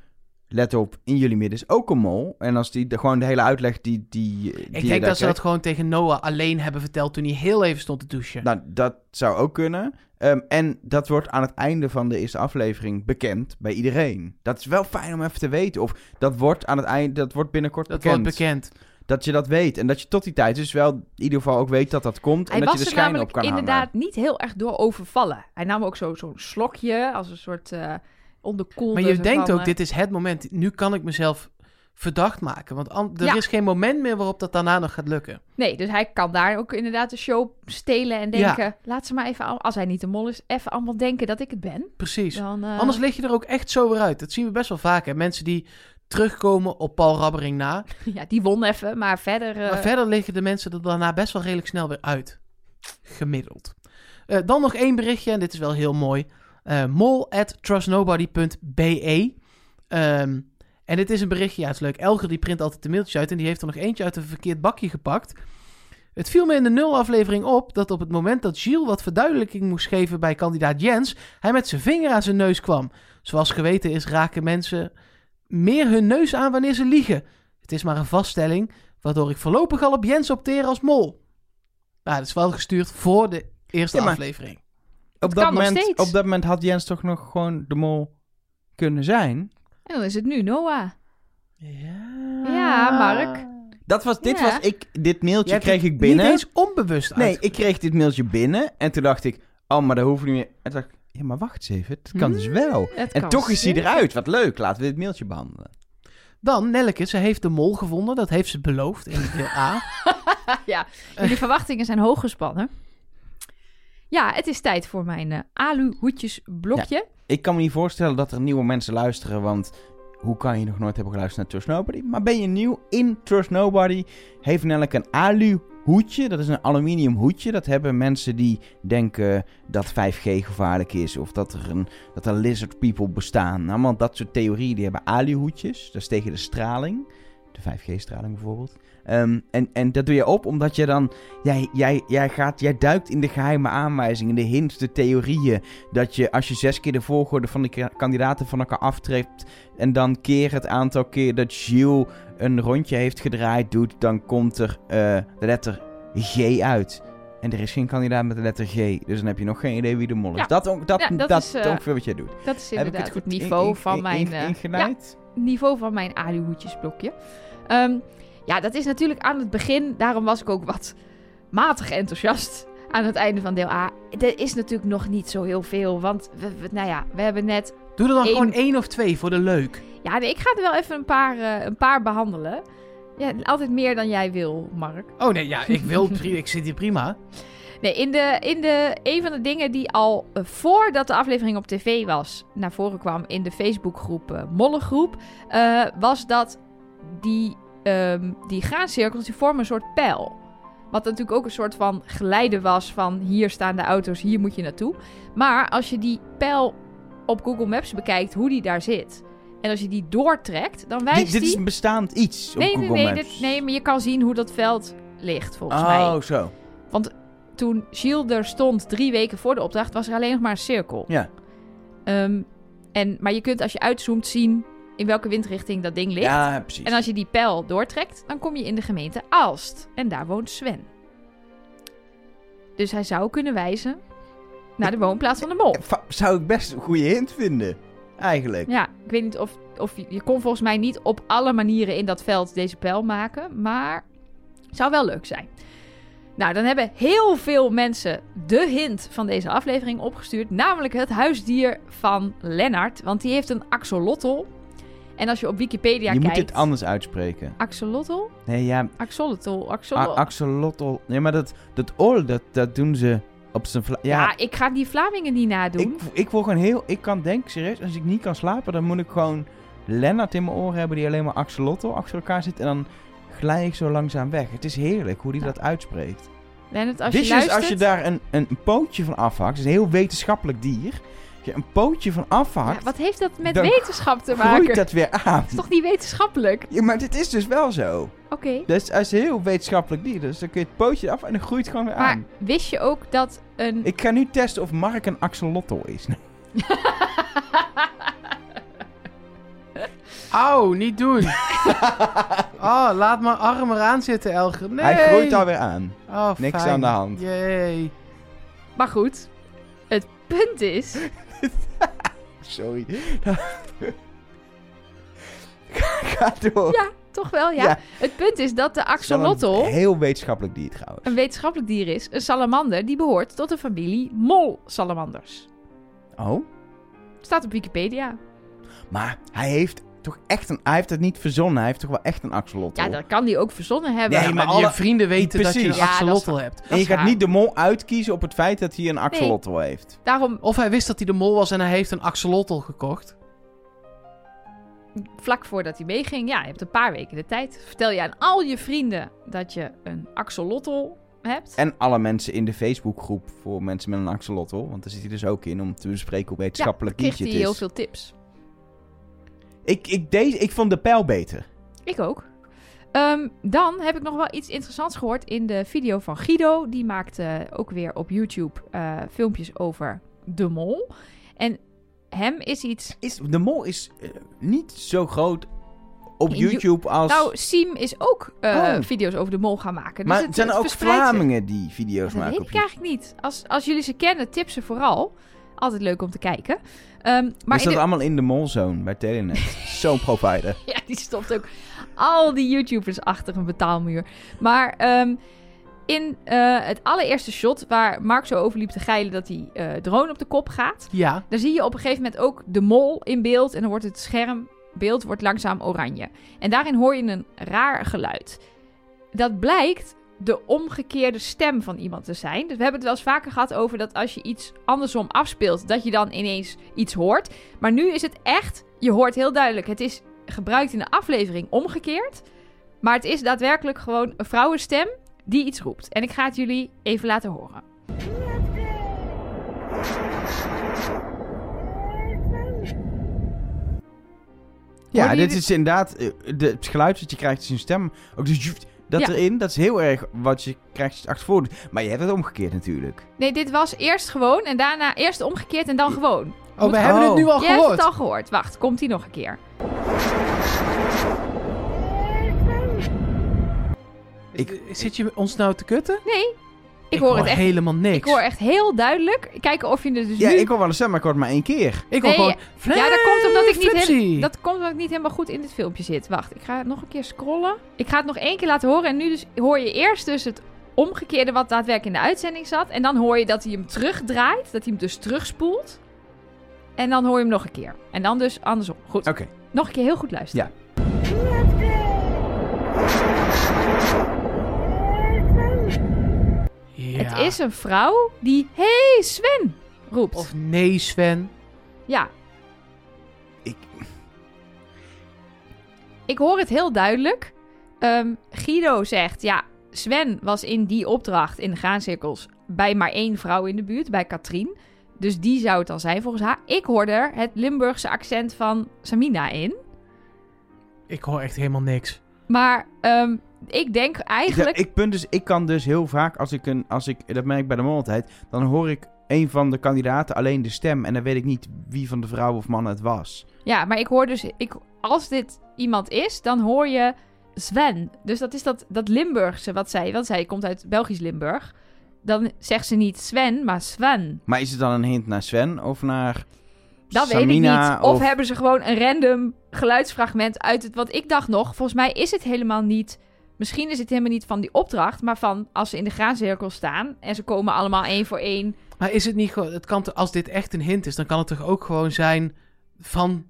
S1: Let op, in jullie midden is ook een mol. En als die de, gewoon de hele uitleg die... die die
S2: Ik
S1: je daar
S2: denk dat ze dat
S1: krijgt-
S2: gewoon tegen Noah alleen hebben verteld toen hij heel even stond te douchen.
S1: Nou, dat zou ook kunnen. Ehm, en dat wordt aan het einde van de eerste aflevering bekend bij iedereen. Dat is wel fijn om even te weten. Of dat wordt, aan het eind, dat wordt binnenkort
S2: dat
S1: bekend.
S2: wordt bekend.
S1: Dat je dat weet. En dat je tot die tijd dus wel in ieder geval ook weet dat dat komt.
S3: Hij
S1: en dat
S3: was
S1: je de
S3: er
S1: schijn op
S3: namelijk
S1: kan
S3: inderdaad
S1: hangen.
S3: niet heel erg door overvallen. Hij nam ook zo- zo'n slokje als een soort eh onderkoelde.
S2: Maar je
S3: zo
S2: denkt
S3: van,
S2: ook,
S3: eh,
S2: dit is het moment. Nu kan ik mezelf verdacht maken. Want an- er
S3: Ja.
S2: is geen moment meer waarop dat daarna nog gaat lukken.
S3: Nee, dus hij kan daar ook inderdaad de show stelen en denken... laat ze maar even, al- als hij niet de mol is, even allemaal denken dat ik het ben.
S2: Precies.
S3: Dan, eh,
S2: Anders lig je er ook echt zo weer uit. Dat zien we best wel vaak, hè. Mensen die terugkomen op Paul Rabbering na.
S3: *laughs* Ja, die won even, maar verder... eh,
S2: Maar verder liggen de mensen er daarna best wel redelijk snel weer uit. Gemiddeld. Eh, dan nog één berichtje, en dit is wel heel mooi. Eh mol at trustnobody.be Ehm, En dit is een berichtje, ja het is leuk. Elger die print altijd de mailtjes uit en die heeft er nog eentje uit een verkeerd bakje gepakt. Het viel me in de nul aflevering op dat op het moment dat Gilles wat verduidelijking moest geven bij kandidaat Jens, hij met zijn vinger aan zijn neus kwam. Zoals geweten is raken mensen meer hun neus aan wanneer ze liegen. Het is maar een vaststelling waardoor ik voorlopig al op Jens opteer als mol. Nou, dat is wel gestuurd voor de eerste
S1: Ja, maar-
S2: aflevering.
S1: Op
S3: kan
S1: dat,
S3: nog
S1: moment,
S3: steeds.
S1: op dat moment had Jens toch nog gewoon de mol kunnen zijn.
S3: En dan is het nu Noah.
S1: Ah.
S2: Ja,
S3: Ja, Mark.
S1: Dat was, dit
S3: Ja.
S1: was, ik, dit mailtje
S2: Jij hebt
S1: kreeg
S2: het
S1: ik binnen.
S2: Niet eens onbewust uit.
S1: Nee, ik kreeg dit mailtje binnen en toen dacht ik, oh, maar dat hoeft niet meer. En toen dacht ik, ja, maar wacht eens even, het kan dus wel.
S3: Hmm. Het
S1: En
S3: kan
S1: toch is hij
S3: zeker.
S1: eruit, wat leuk, laten we dit mailtje behandelen.
S2: Dan Nelleke, ze heeft de mol gevonden. Dat heeft ze beloofd in deel A.
S3: ja, jullie verwachtingen zijn hoog gespannen. Ja, het is tijd voor mijn eh, alu-hoedjesblokje.
S1: Ik kan me niet voorstellen dat er nieuwe mensen luisteren, want hoe kan je nog nooit hebben geluisterd naar Trust Nobody? Maar ben je nieuw in Trust Nobody, heeft Nelleke een alu hoedje. Dat is een aluminium hoedje. Dat hebben mensen die denken dat 5G gevaarlijk is of dat er, een, dat er lizard people bestaan. Nou, want dat soort theorieën, die hebben alu hoedjes. Dat is tegen de straling. De 5G-straling bijvoorbeeld. Ehm, en, en dat doe je op omdat je dan... Jij, jij, jij, gaat, jij duikt in de geheime aanwijzingen, de hints, de theorieën. Dat je als je zes keer de volgorde van de ka- kandidaten van elkaar aftrekt... en dan keer het aantal keer dat Gilles een rondje heeft gedraaid doet... dan komt er eh, de letter G uit. En er is geen kandidaat met de letter G. Dus dan heb je nog geen idee wie de mol is.
S3: Ja.
S1: Dat, on- dat,
S3: Ja,
S1: dat,
S3: dat is, eh,
S1: ongeveer wat jij doet.
S3: Dat is
S1: Heb ik
S3: inderdaad
S1: het
S3: het,
S1: goed in-
S3: niveau,
S1: in-
S3: van
S1: in-
S3: mijn,
S1: in-
S3: eh, ja,
S1: ingeleid?
S3: niveau van mijn alu-hoedjesblokje. Ehm, ja, dat is natuurlijk aan het begin. Daarom was ik ook wat matig enthousiast aan het einde van deel A. Er is natuurlijk nog niet zo heel veel. Want, we, we- nou ja, we hebben net
S2: Doe er dan
S3: Eén.
S2: gewoon één of twee voor de leuk.
S3: Ja, nee, ik ga er wel even een paar, eh, een paar behandelen. Ja, altijd meer dan jij wil, Mark.
S2: Oh nee, ja, ik wil. pri- ik zit hier prima.
S3: Nee, in de, in de, een van de dingen die al eh, voordat de aflevering op tv was, naar voren kwam in de Facebookgroep eh Mollengroep, eh, was dat die, ehm die graancirkels, die vormen een soort pijl. Wat natuurlijk ook een soort van geleide was van hier staan de auto's, hier moet je naartoe. Maar als je die pijl op Google Maps bekijkt, hoe die daar zit. En als je die doortrekt, dan wijst
S1: Dit, dit
S3: die...
S1: is een bestaand iets op
S3: Nee, nee,
S1: Google
S3: nee,
S1: Maps.
S3: dit- nee, maar je kan zien hoe dat veld ligt, volgens mij.
S1: Oh, zo.
S3: Toen Gilles er stond drie weken voor de opdracht, was er alleen nog maar een cirkel.
S1: Ja.
S3: Ehm, en, maar je kunt als je uitzoomt zien in welke windrichting dat ding ligt.
S1: Ja, precies.
S3: En als je die pijl doortrekt, dan kom je in de gemeente Aalst. En daar woont Sven. Dus hij zou kunnen wijzen naar de woonplaats van de mol.
S1: Va- Zou ik best een goede hint vinden, eigenlijk.
S3: Ja, ik weet niet of, of je, je kon volgens mij niet op alle manieren in dat veld deze pijl maken, maar het zou wel leuk zijn. Nou, dan hebben heel veel mensen de hint van deze aflevering opgestuurd, namelijk het huisdier van Lennart, want die heeft een axolotl. En als je op Wikipedia
S1: je moet
S3: kijkt,
S1: dit anders uitspreken.
S3: axolotl,
S1: Nee, ja,
S3: axolotl,
S1: a-
S3: axolotl.
S1: axolotl. Nee, maar dat, dat oor, dat, dat doen ze op zijn... vla-
S3: ja,
S1: Ja,
S3: ik ga die Vlamingen niet nadoen.
S1: ik, ik word gewoon heel... Ik kan denk, serieus, als ik niet kan slapen, dan moet ik gewoon Lennart in mijn oren hebben die alleen maar axolotl achter elkaar zit. En dan glij ik zo langzaam weg. Het is heerlijk hoe die
S3: Nou.
S1: dat uitspreekt.
S3: Lennart, als
S1: Dit
S3: je
S1: is dus
S3: luistert,
S1: als je daar een, een pootje van afhakt, het is een heel wetenschappelijk dier. Als je een pootje van afhakt,
S3: Ja, wat heeft dat met
S1: dan
S3: wetenschap te maken?
S1: groeit
S3: Dat
S1: dat weer aan.
S3: is toch niet wetenschappelijk?
S1: Ja, maar dit is dus wel zo.
S3: Oké.
S1: Dus als heel wetenschappelijk dier, dus dan kun je het pootje af en dan groeit het gewoon weer
S3: Maar
S1: aan.
S3: wist je ook dat een.
S1: Ehm, Ik ga nu testen of Mark een axolotl is. *laughs*
S2: Auw, niet
S1: *laughs*
S2: doen. Oh, laat mijn arm eraan zitten, Elger. Nee.
S1: Hij groeit alweer aan.
S2: Oh,
S1: Niks
S2: fijn.
S1: aan de hand.
S2: Jee.
S3: Maar goed, het punt is.
S1: Sorry. *laughs* ga, ga door.
S3: Ja, toch wel, ja.
S1: Ja.
S3: Het punt is dat de
S1: Het is wel een
S3: axolotl
S1: Heel wetenschappelijk dier trouwens.
S3: een wetenschappelijk dier is. Een salamander die behoort tot de familie mol-salamanders.
S1: Oh,
S3: Staat op Wikipedia.
S1: maar hij heeft toch echt een... Hij heeft het niet verzonnen, hij heeft toch wel echt een axolotl.
S3: Ja, dan kan die ook verzonnen hebben.
S2: Nee,
S1: Ja,
S2: maar,
S1: Oh. maar
S2: je
S1: alle-
S2: vrienden weten dat je
S1: Precies.
S2: een
S3: Ja, dat is
S2: axolotl
S3: waar.
S2: hebt.
S1: en je
S3: is
S1: gaat
S3: waar.
S1: niet de mol uitkiezen op het feit dat hij een axolotl heeft.
S3: Daarom
S2: Of hij wist dat hij de mol was en hij heeft een axolotl gekocht.
S3: vlak voordat hij meeging, ja, je hebt een paar weken de tijd. Vertel je aan al je vrienden dat je een axolotl hebt.
S1: En alle mensen in de Facebookgroep voor mensen met een axolotl. Want daar zit hij dus ook in om te bespreken hoe
S3: ja, dan
S1: wetenschappelijk
S3: kreeg
S1: diertje
S3: hij
S1: het
S3: heel
S1: is.
S3: veel tips.
S1: Ik, ik, deze, ik vond de pijl beter.
S3: Ik ook. Ehm, dan heb ik nog wel iets interessants gehoord in de video van Guido. Die maakt eh, ook weer op YouTube eh, filmpjes over de mol. En hem is iets...
S1: Is, de mol is eh, niet zo groot op
S3: In Ju-
S1: YouTube als...
S3: Nou, Siem is ook eh,
S1: Oh.
S3: video's over de mol gaan maken. Dus
S1: maar
S3: het,
S1: zijn er
S3: het
S1: ook
S3: verspreidt zich.
S1: Vlamingen die video's
S3: Dat
S1: maken
S3: weet
S1: op
S3: ik
S1: YouTube?
S3: eigenlijk niet. Als, als jullie ze kennen, tip ze vooral. Altijd leuk om te kijken. Ehm, maar
S1: is
S3: in
S1: dat
S3: de- *laughs*
S1: allemaal in de molzone bij Telenet? Zo'n provider.
S3: ja, die stopt ook Al die YouTubers achter een betaalmuur. Maar ehm, in eh, het allereerste shot waar Mark zo overliep te geilen dat die eh, drone op de kop gaat.
S2: Ja.
S3: Daar zie je op een gegeven moment ook de mol in beeld. En dan wordt het schermbeeld wordt langzaam oranje. En daarin hoor je een raar geluid. Dat blijkt de omgekeerde stem van iemand te zijn. Dus we hebben het wel eens vaker gehad over dat als je iets andersom afspeelt, dat je dan ineens iets hoort. Maar nu is het echt, je hoort heel duidelijk, het is gebruikt in de aflevering omgekeerd. Maar het is daadwerkelijk gewoon een vrouwenstem die iets roept. En ik ga het jullie even laten horen.
S1: Ja,
S3: Hoorden
S1: dit
S3: jullie-
S1: is inderdaad... eh, de, het geluid dat je krijgt is een stem. Ook dus joeft, dat
S3: Ja.
S1: erin, dat is heel erg wat je krijgt als je het achtervoor doet. Maar je hebt het omgekeerd natuurlijk.
S3: Nee, dit was eerst gewoon en daarna eerst omgekeerd en dan gewoon.
S2: Oh, we
S1: Oh.
S2: hebben het nu al
S3: Je hebt het
S2: gehoord.
S3: al gehoord. Wacht, komt die nog een keer.
S1: Ik-
S2: Zit je ons nou te kutten?
S3: Nee, ik, hoor, het echt.
S2: helemaal niks.
S3: Ik hoor echt heel duidelijk. Kijken of je het dus
S1: Ja,
S3: nu...
S1: ik hoor wel een stem, maar ik hoor het maar één keer.
S2: Ik hoor
S3: Nee,
S2: gewoon...
S3: Ja, dat komt omdat ik niet heel-
S2: Flipsy.
S3: Dat komt omdat ik niet helemaal goed in dit filmpje zit. Wacht, ik ga nog een keer scrollen. Ik ga het nog één keer laten horen. En nu dus hoor je eerst dus het omgekeerde wat daadwerkelijk in de uitzending zat. En dan hoor je dat hij hem terugdraait. Dat hij hem dus terugspoelt. En dan hoor je hem nog een keer. En dan dus andersom. Goed.
S1: Oké.
S3: Nog een keer heel goed
S1: Ja.
S3: luisteren.
S2: Ja.
S3: Het is een vrouw die... hey, Sven! roept.
S2: Of nee, Sven.
S3: Ja.
S1: Ik-
S3: Ik hoor het heel duidelijk. Ehm, Guido zegt, ja, Sven was in die opdracht in de graancirkels bij maar één vrouw in de buurt, bij Katrien. Dus die zou het dan zijn volgens haar. Ik hoorde er het Limburgse accent van Samina in.
S2: Ik hoor echt helemaal niks.
S3: Maar ehm, ik denk eigenlijk...
S1: Ja, ik, punt dus, ik kan dus heel vaak, als ik een, als ik, dat merk ik bij de mannelijkheid, dan hoor ik een van de kandidaten alleen de stem. En dan weet ik niet wie van de vrouw of man het was.
S3: Ja, maar ik hoor dus... Ik, als dit iemand is, dan hoor je Sven. Dus dat is dat, dat Limburgse wat zij... Want zij komt uit Belgisch Limburg. Dan zegt ze niet Sven, maar Sven.
S1: Maar is het dan een hint naar Sven of naar
S3: Dat weet
S1: Samina
S3: ik niet. Of,
S1: of-
S3: hebben ze gewoon een random geluidsfragment uit het... Want ik dacht nog, volgens mij is het helemaal niet... Misschien is het helemaal niet van die opdracht... maar van als ze in de graancirkel staan... en ze komen allemaal één voor één...
S2: Maar is het niet gewoon... Het kan, toch- als dit echt een hint is, dan kan het toch ook gewoon zijn van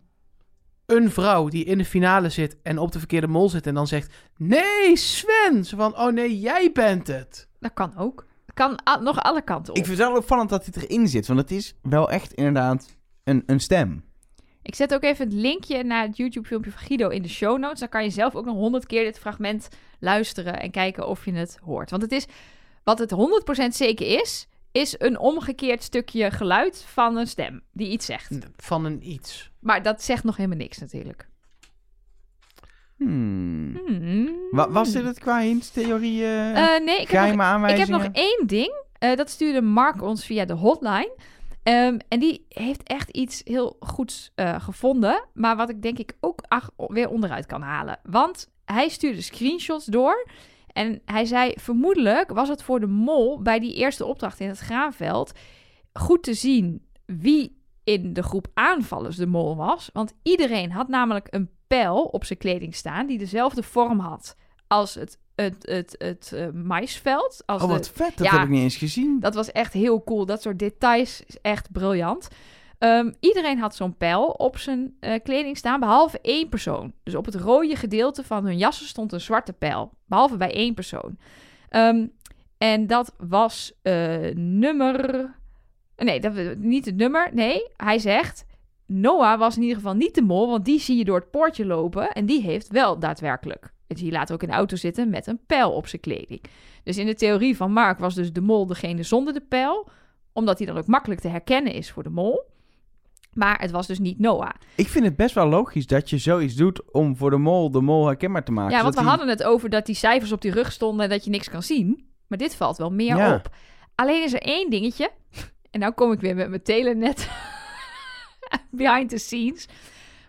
S2: een vrouw die in de finale zit en op de verkeerde mol zit en dan zegt... Nee, Sven! Zo van, oh nee, jij bent het.
S3: Dat kan ook. Dat kan a- nog alle kanten
S1: Ik
S3: op. Ik,
S1: vind het wel opvallend dat dit erin zit, want het is wel echt inderdaad een, een stem.
S3: zet ook even het linkje naar het YouTube-filmpje van Guido in de show notes. Dan kan je zelf ook nog honderd keer dit fragment luisteren... en kijken of je het hoort. Want het is... Wat het 100% zeker is... is een omgekeerd stukje geluid van een stem... die iets zegt.
S2: Van een iets.
S3: Maar dat zegt nog helemaal niks natuurlijk.
S1: Hmm.
S3: Hmm.
S1: Wa- was dit het qua hinttheorie? eh
S3: Eh, nee, ik heb,
S1: geheime
S3: nog, ik heb
S1: aanwijzingen?
S3: nog één ding. Eh, dat stuurde Mark ons via de hotline. Ehm, en die heeft echt iets heel goeds eh, gevonden. Maar wat ik denk ik ook ach- weer onderuit kan halen. Want hij stuurde screenshots door. En hij zei, vermoedelijk was het voor de mol bij die eerste opdracht in het graanveld goed te zien wie in de groep aanvallers de mol was. Want iedereen had namelijk een pijl op zijn kleding staan die dezelfde vorm had als het, het, het, het, eh, maisveld. Als
S1: Oh,
S3: de-
S1: wat vet. Dat
S3: ja.
S1: heb ik niet eens gezien.
S3: dat was echt heel cool. Dat soort details is echt briljant. Ehm, iedereen had zo'n pijl op zijn eh, kleding staan, behalve één persoon. Dus op het rode gedeelte van hun jassen stond een zwarte pijl, behalve bij één persoon. Ehm, en dat was eh, nummer. Nee, dat, eh, niet het nummer. Nee, hij zegt. Noah was in ieder geval niet de mol, want die zie je door het poortje lopen. En die heeft wel daadwerkelijk. Die zie je later ook in de auto zitten met een pijl op zijn kleding. Dus in de theorie van Mark was dus de mol degene zonder de pijl, omdat hij dan ook makkelijk te herkennen is voor de mol. Maar het was dus niet Noah.
S1: Ik vind het best wel logisch dat je zoiets doet om voor de mol de mol herkenbaar te maken.
S3: ja, want we
S1: zodat die-
S3: hadden het over dat die cijfers op die rug stonden en dat je niks kan zien. Maar dit valt wel meer
S1: Ja.
S3: op. Alleen is er één dingetje. En nou kom ik weer met mijn telenet *laughs* behind the scenes.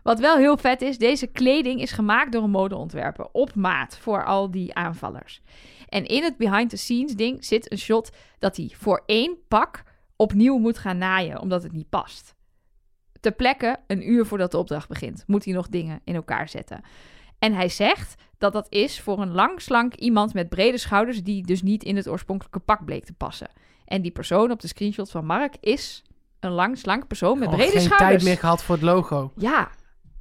S3: Wat wel heel vet is, deze kleding is gemaakt door een modeontwerper op maat voor al die aanvallers. En in het behind the scenes ding zit een shot dat hij voor één pak opnieuw moet gaan naaien, omdat het niet past. Ter plekke, een uur voordat de opdracht begint, moet hij nog dingen in elkaar zetten. En hij zegt dat dat is voor een lang, slank iemand met brede schouders die dus niet in het oorspronkelijke pak bleek te passen. En die persoon op de screenshot van Mark is een lang, slank persoon met
S2: Gewoon
S3: brede
S2: Oh, geen tijd
S3: schouders.
S2: meer gehad voor het logo.
S3: Ja,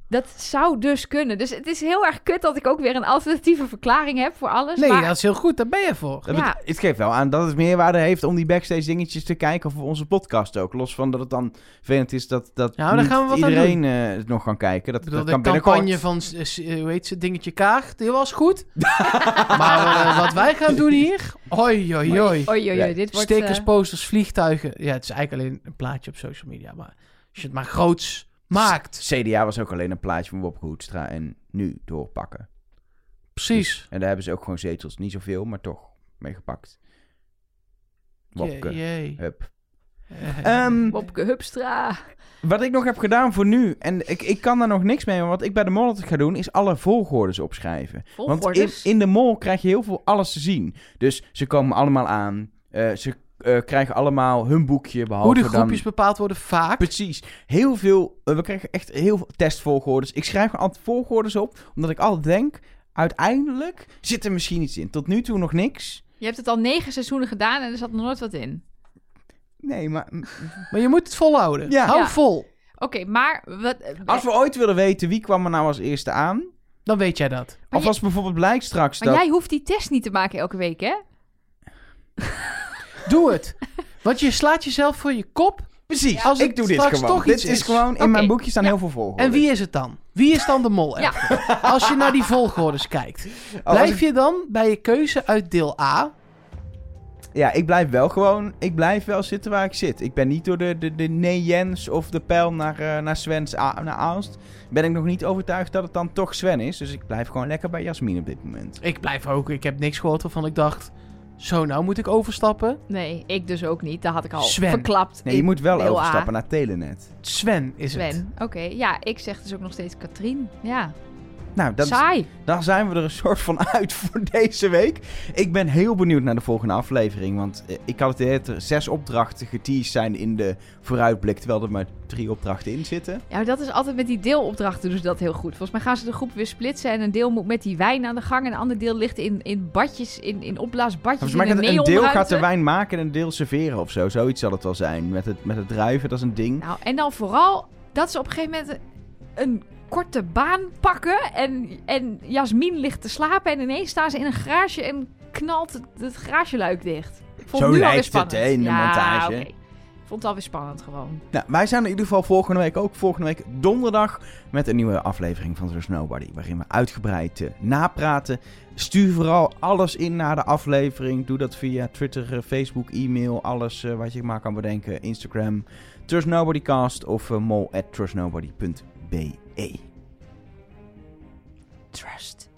S3: dat zou dus kunnen. Dus het is heel erg kut dat ik ook weer een alternatieve verklaring heb voor alles.
S2: Nee,
S3: maar
S2: dat is heel goed. Daar ben je voor.
S1: Dat
S3: Ja.
S1: bet- Het geeft wel aan dat het meerwaarde heeft om die backstage dingetjes te kijken voor onze podcast ook. Los van dat het dan vervelend is dat, dat
S2: Ja, maar daar
S1: niet
S2: gaan we wat aan
S1: iedereen eh, het nog kan kijken. Dat,
S2: Ik bedoel,
S1: dat
S2: de
S1: kan binnenkort.
S2: campagne van, s- s- eh, hoe heet ze, dingetje Kaag, die was goed. *laughs* maar eh, wat wij gaan doen hier, oi, oi, oi.
S3: Oei, oei, oei, dit wordt... eh,
S2: Stickers, posters, vliegtuigen. Ja, het is eigenlijk alleen een plaatje op social media. Maar als je het maar groots maakt.
S1: CDA was ook alleen een plaatje van Wopke Hoedstra en nu doorpakken.
S2: Precies.
S1: En daar hebben ze ook gewoon zetels. Niet zoveel, maar toch meegepakt. Wopke.
S2: Jee, jee.
S1: Hup.
S2: Eh,
S1: Ehm,
S3: Wopke Hupstra.
S1: Wat ik nog heb gedaan voor nu, en ik, ik kan daar nog niks mee, maar wat ik bij de mol altijd ga doen, is alle volgordes opschrijven. Want in,
S3: Volgordes.
S1: in de mol krijg je heel veel alles te zien. Dus ze komen allemaal aan, eh, ze eh, krijgen allemaal hun boekje, behalve
S2: hoe de
S1: dan-
S2: groepjes bepaald worden, vaak.
S1: Precies. Heel veel, eh, we krijgen echt heel veel testvolgordes. Ik schrijf gewoon altijd volgordes op, omdat ik altijd denk, uiteindelijk zit er misschien iets in. Tot nu toe nog niks.
S3: Je hebt het al negen seizoenen gedaan en er zat nog nooit wat in.
S1: Nee, maar
S2: Maar je moet het volhouden.
S1: Ja.
S2: Hou
S3: Ja.
S2: vol.
S3: Oké, maar... Wat, eh,
S1: als we ooit willen weten wie kwam er nou als eerste aan,
S2: Dan weet jij dat.
S3: Maar
S1: of
S3: je-
S1: als bijvoorbeeld blijkt straks
S3: Maar
S1: dat...
S3: jij hoeft die test niet te maken elke week, hè?
S2: Doe het.
S1: *laughs*
S2: Want je slaat jezelf voor je kop.
S1: Precies,
S2: Als het
S1: ik doe dit
S2: straks
S1: gewoon.
S2: toch
S1: dit
S2: iets
S1: is
S2: is.
S1: gewoon, in
S3: Oké.
S1: mijn boekje staan
S3: Ja.
S1: heel veel volgordes.
S2: En wie is het dan? Wie is dan de mol?
S3: Ja.
S2: echt? *laughs* Als je naar die volgordes kijkt.
S1: Oh, als
S2: Blijf
S1: ik-
S2: je dan bij je keuze uit deel A?
S1: Ja, ik blijf wel gewoon, ik blijf wel zitten waar ik zit. Ik ben niet door de, de, de nee Jens of de pijl naar, eh, naar Sven's, A- naar Aalst. Ben ik nog niet overtuigd dat het dan toch Sven is. Dus ik blijf gewoon lekker bij Jasmin op dit moment.
S2: Ik blijf ook. Ik heb niks gehoord waarvan ik dacht... Zo, nou moet ik overstappen.
S3: Nee, ik dus ook niet. Dat had ik al
S2: Sven.
S3: verklapt.
S1: Nee, je moet wel
S3: Deel A.
S1: overstappen naar Telenet.
S2: Sven is het.
S3: Sven, oké. Ja, ik zeg dus ook nog steeds Katrien. Ja,
S1: Nou, dat is-
S3: saai.
S1: daar zijn we er een soort van *laughs* uit voor deze week. Ik ben heel benieuwd naar de volgende aflevering. Want eh, ik had het idee dat er zes opdrachten geteased zijn in de vooruitblik. Terwijl er maar drie opdrachten in zitten.
S3: Ja, maar dat is altijd met die deelopdrachten dus dat heel goed. Volgens mij gaan ze de groep weer splitsen en een deel moet met die wijn aan de gang en een ander deel ligt in, in badjes, in, in opblaasbadjes,
S1: Volgens
S3: in
S1: mij
S3: een
S1: gaat een deel gaat
S3: neonruimte.
S1: de wijn maken en een deel serveren of zo. Zoiets zal het wel zijn. Met het, met het druiven, dat is een ding.
S3: Nou, en dan vooral dat ze op een gegeven moment een korte baan pakken en, en Jasmin ligt te slapen en ineens staan ze in een garage en knalt het, het garageluik dicht. Ik Vond
S1: Zo
S3: het nu alweer
S1: lijkt het,
S3: spannend.
S1: hè, in de
S3: ja,
S1: montage.
S3: oké. Ik Vond het alweer spannend gewoon.
S1: Nou, wij zijn in ieder geval volgende week ook. Volgende week donderdag met een nieuwe aflevering van There's Nobody. Waarin we uitgebreid eh, napraten. Stuur vooral alles in naar de aflevering. Doe dat via Twitter, eh, Facebook, e-mail. Alles eh, wat je maar kan bedenken. Instagram, There's Nobodycast of eh, mol at trustnobody.be.
S3: Trust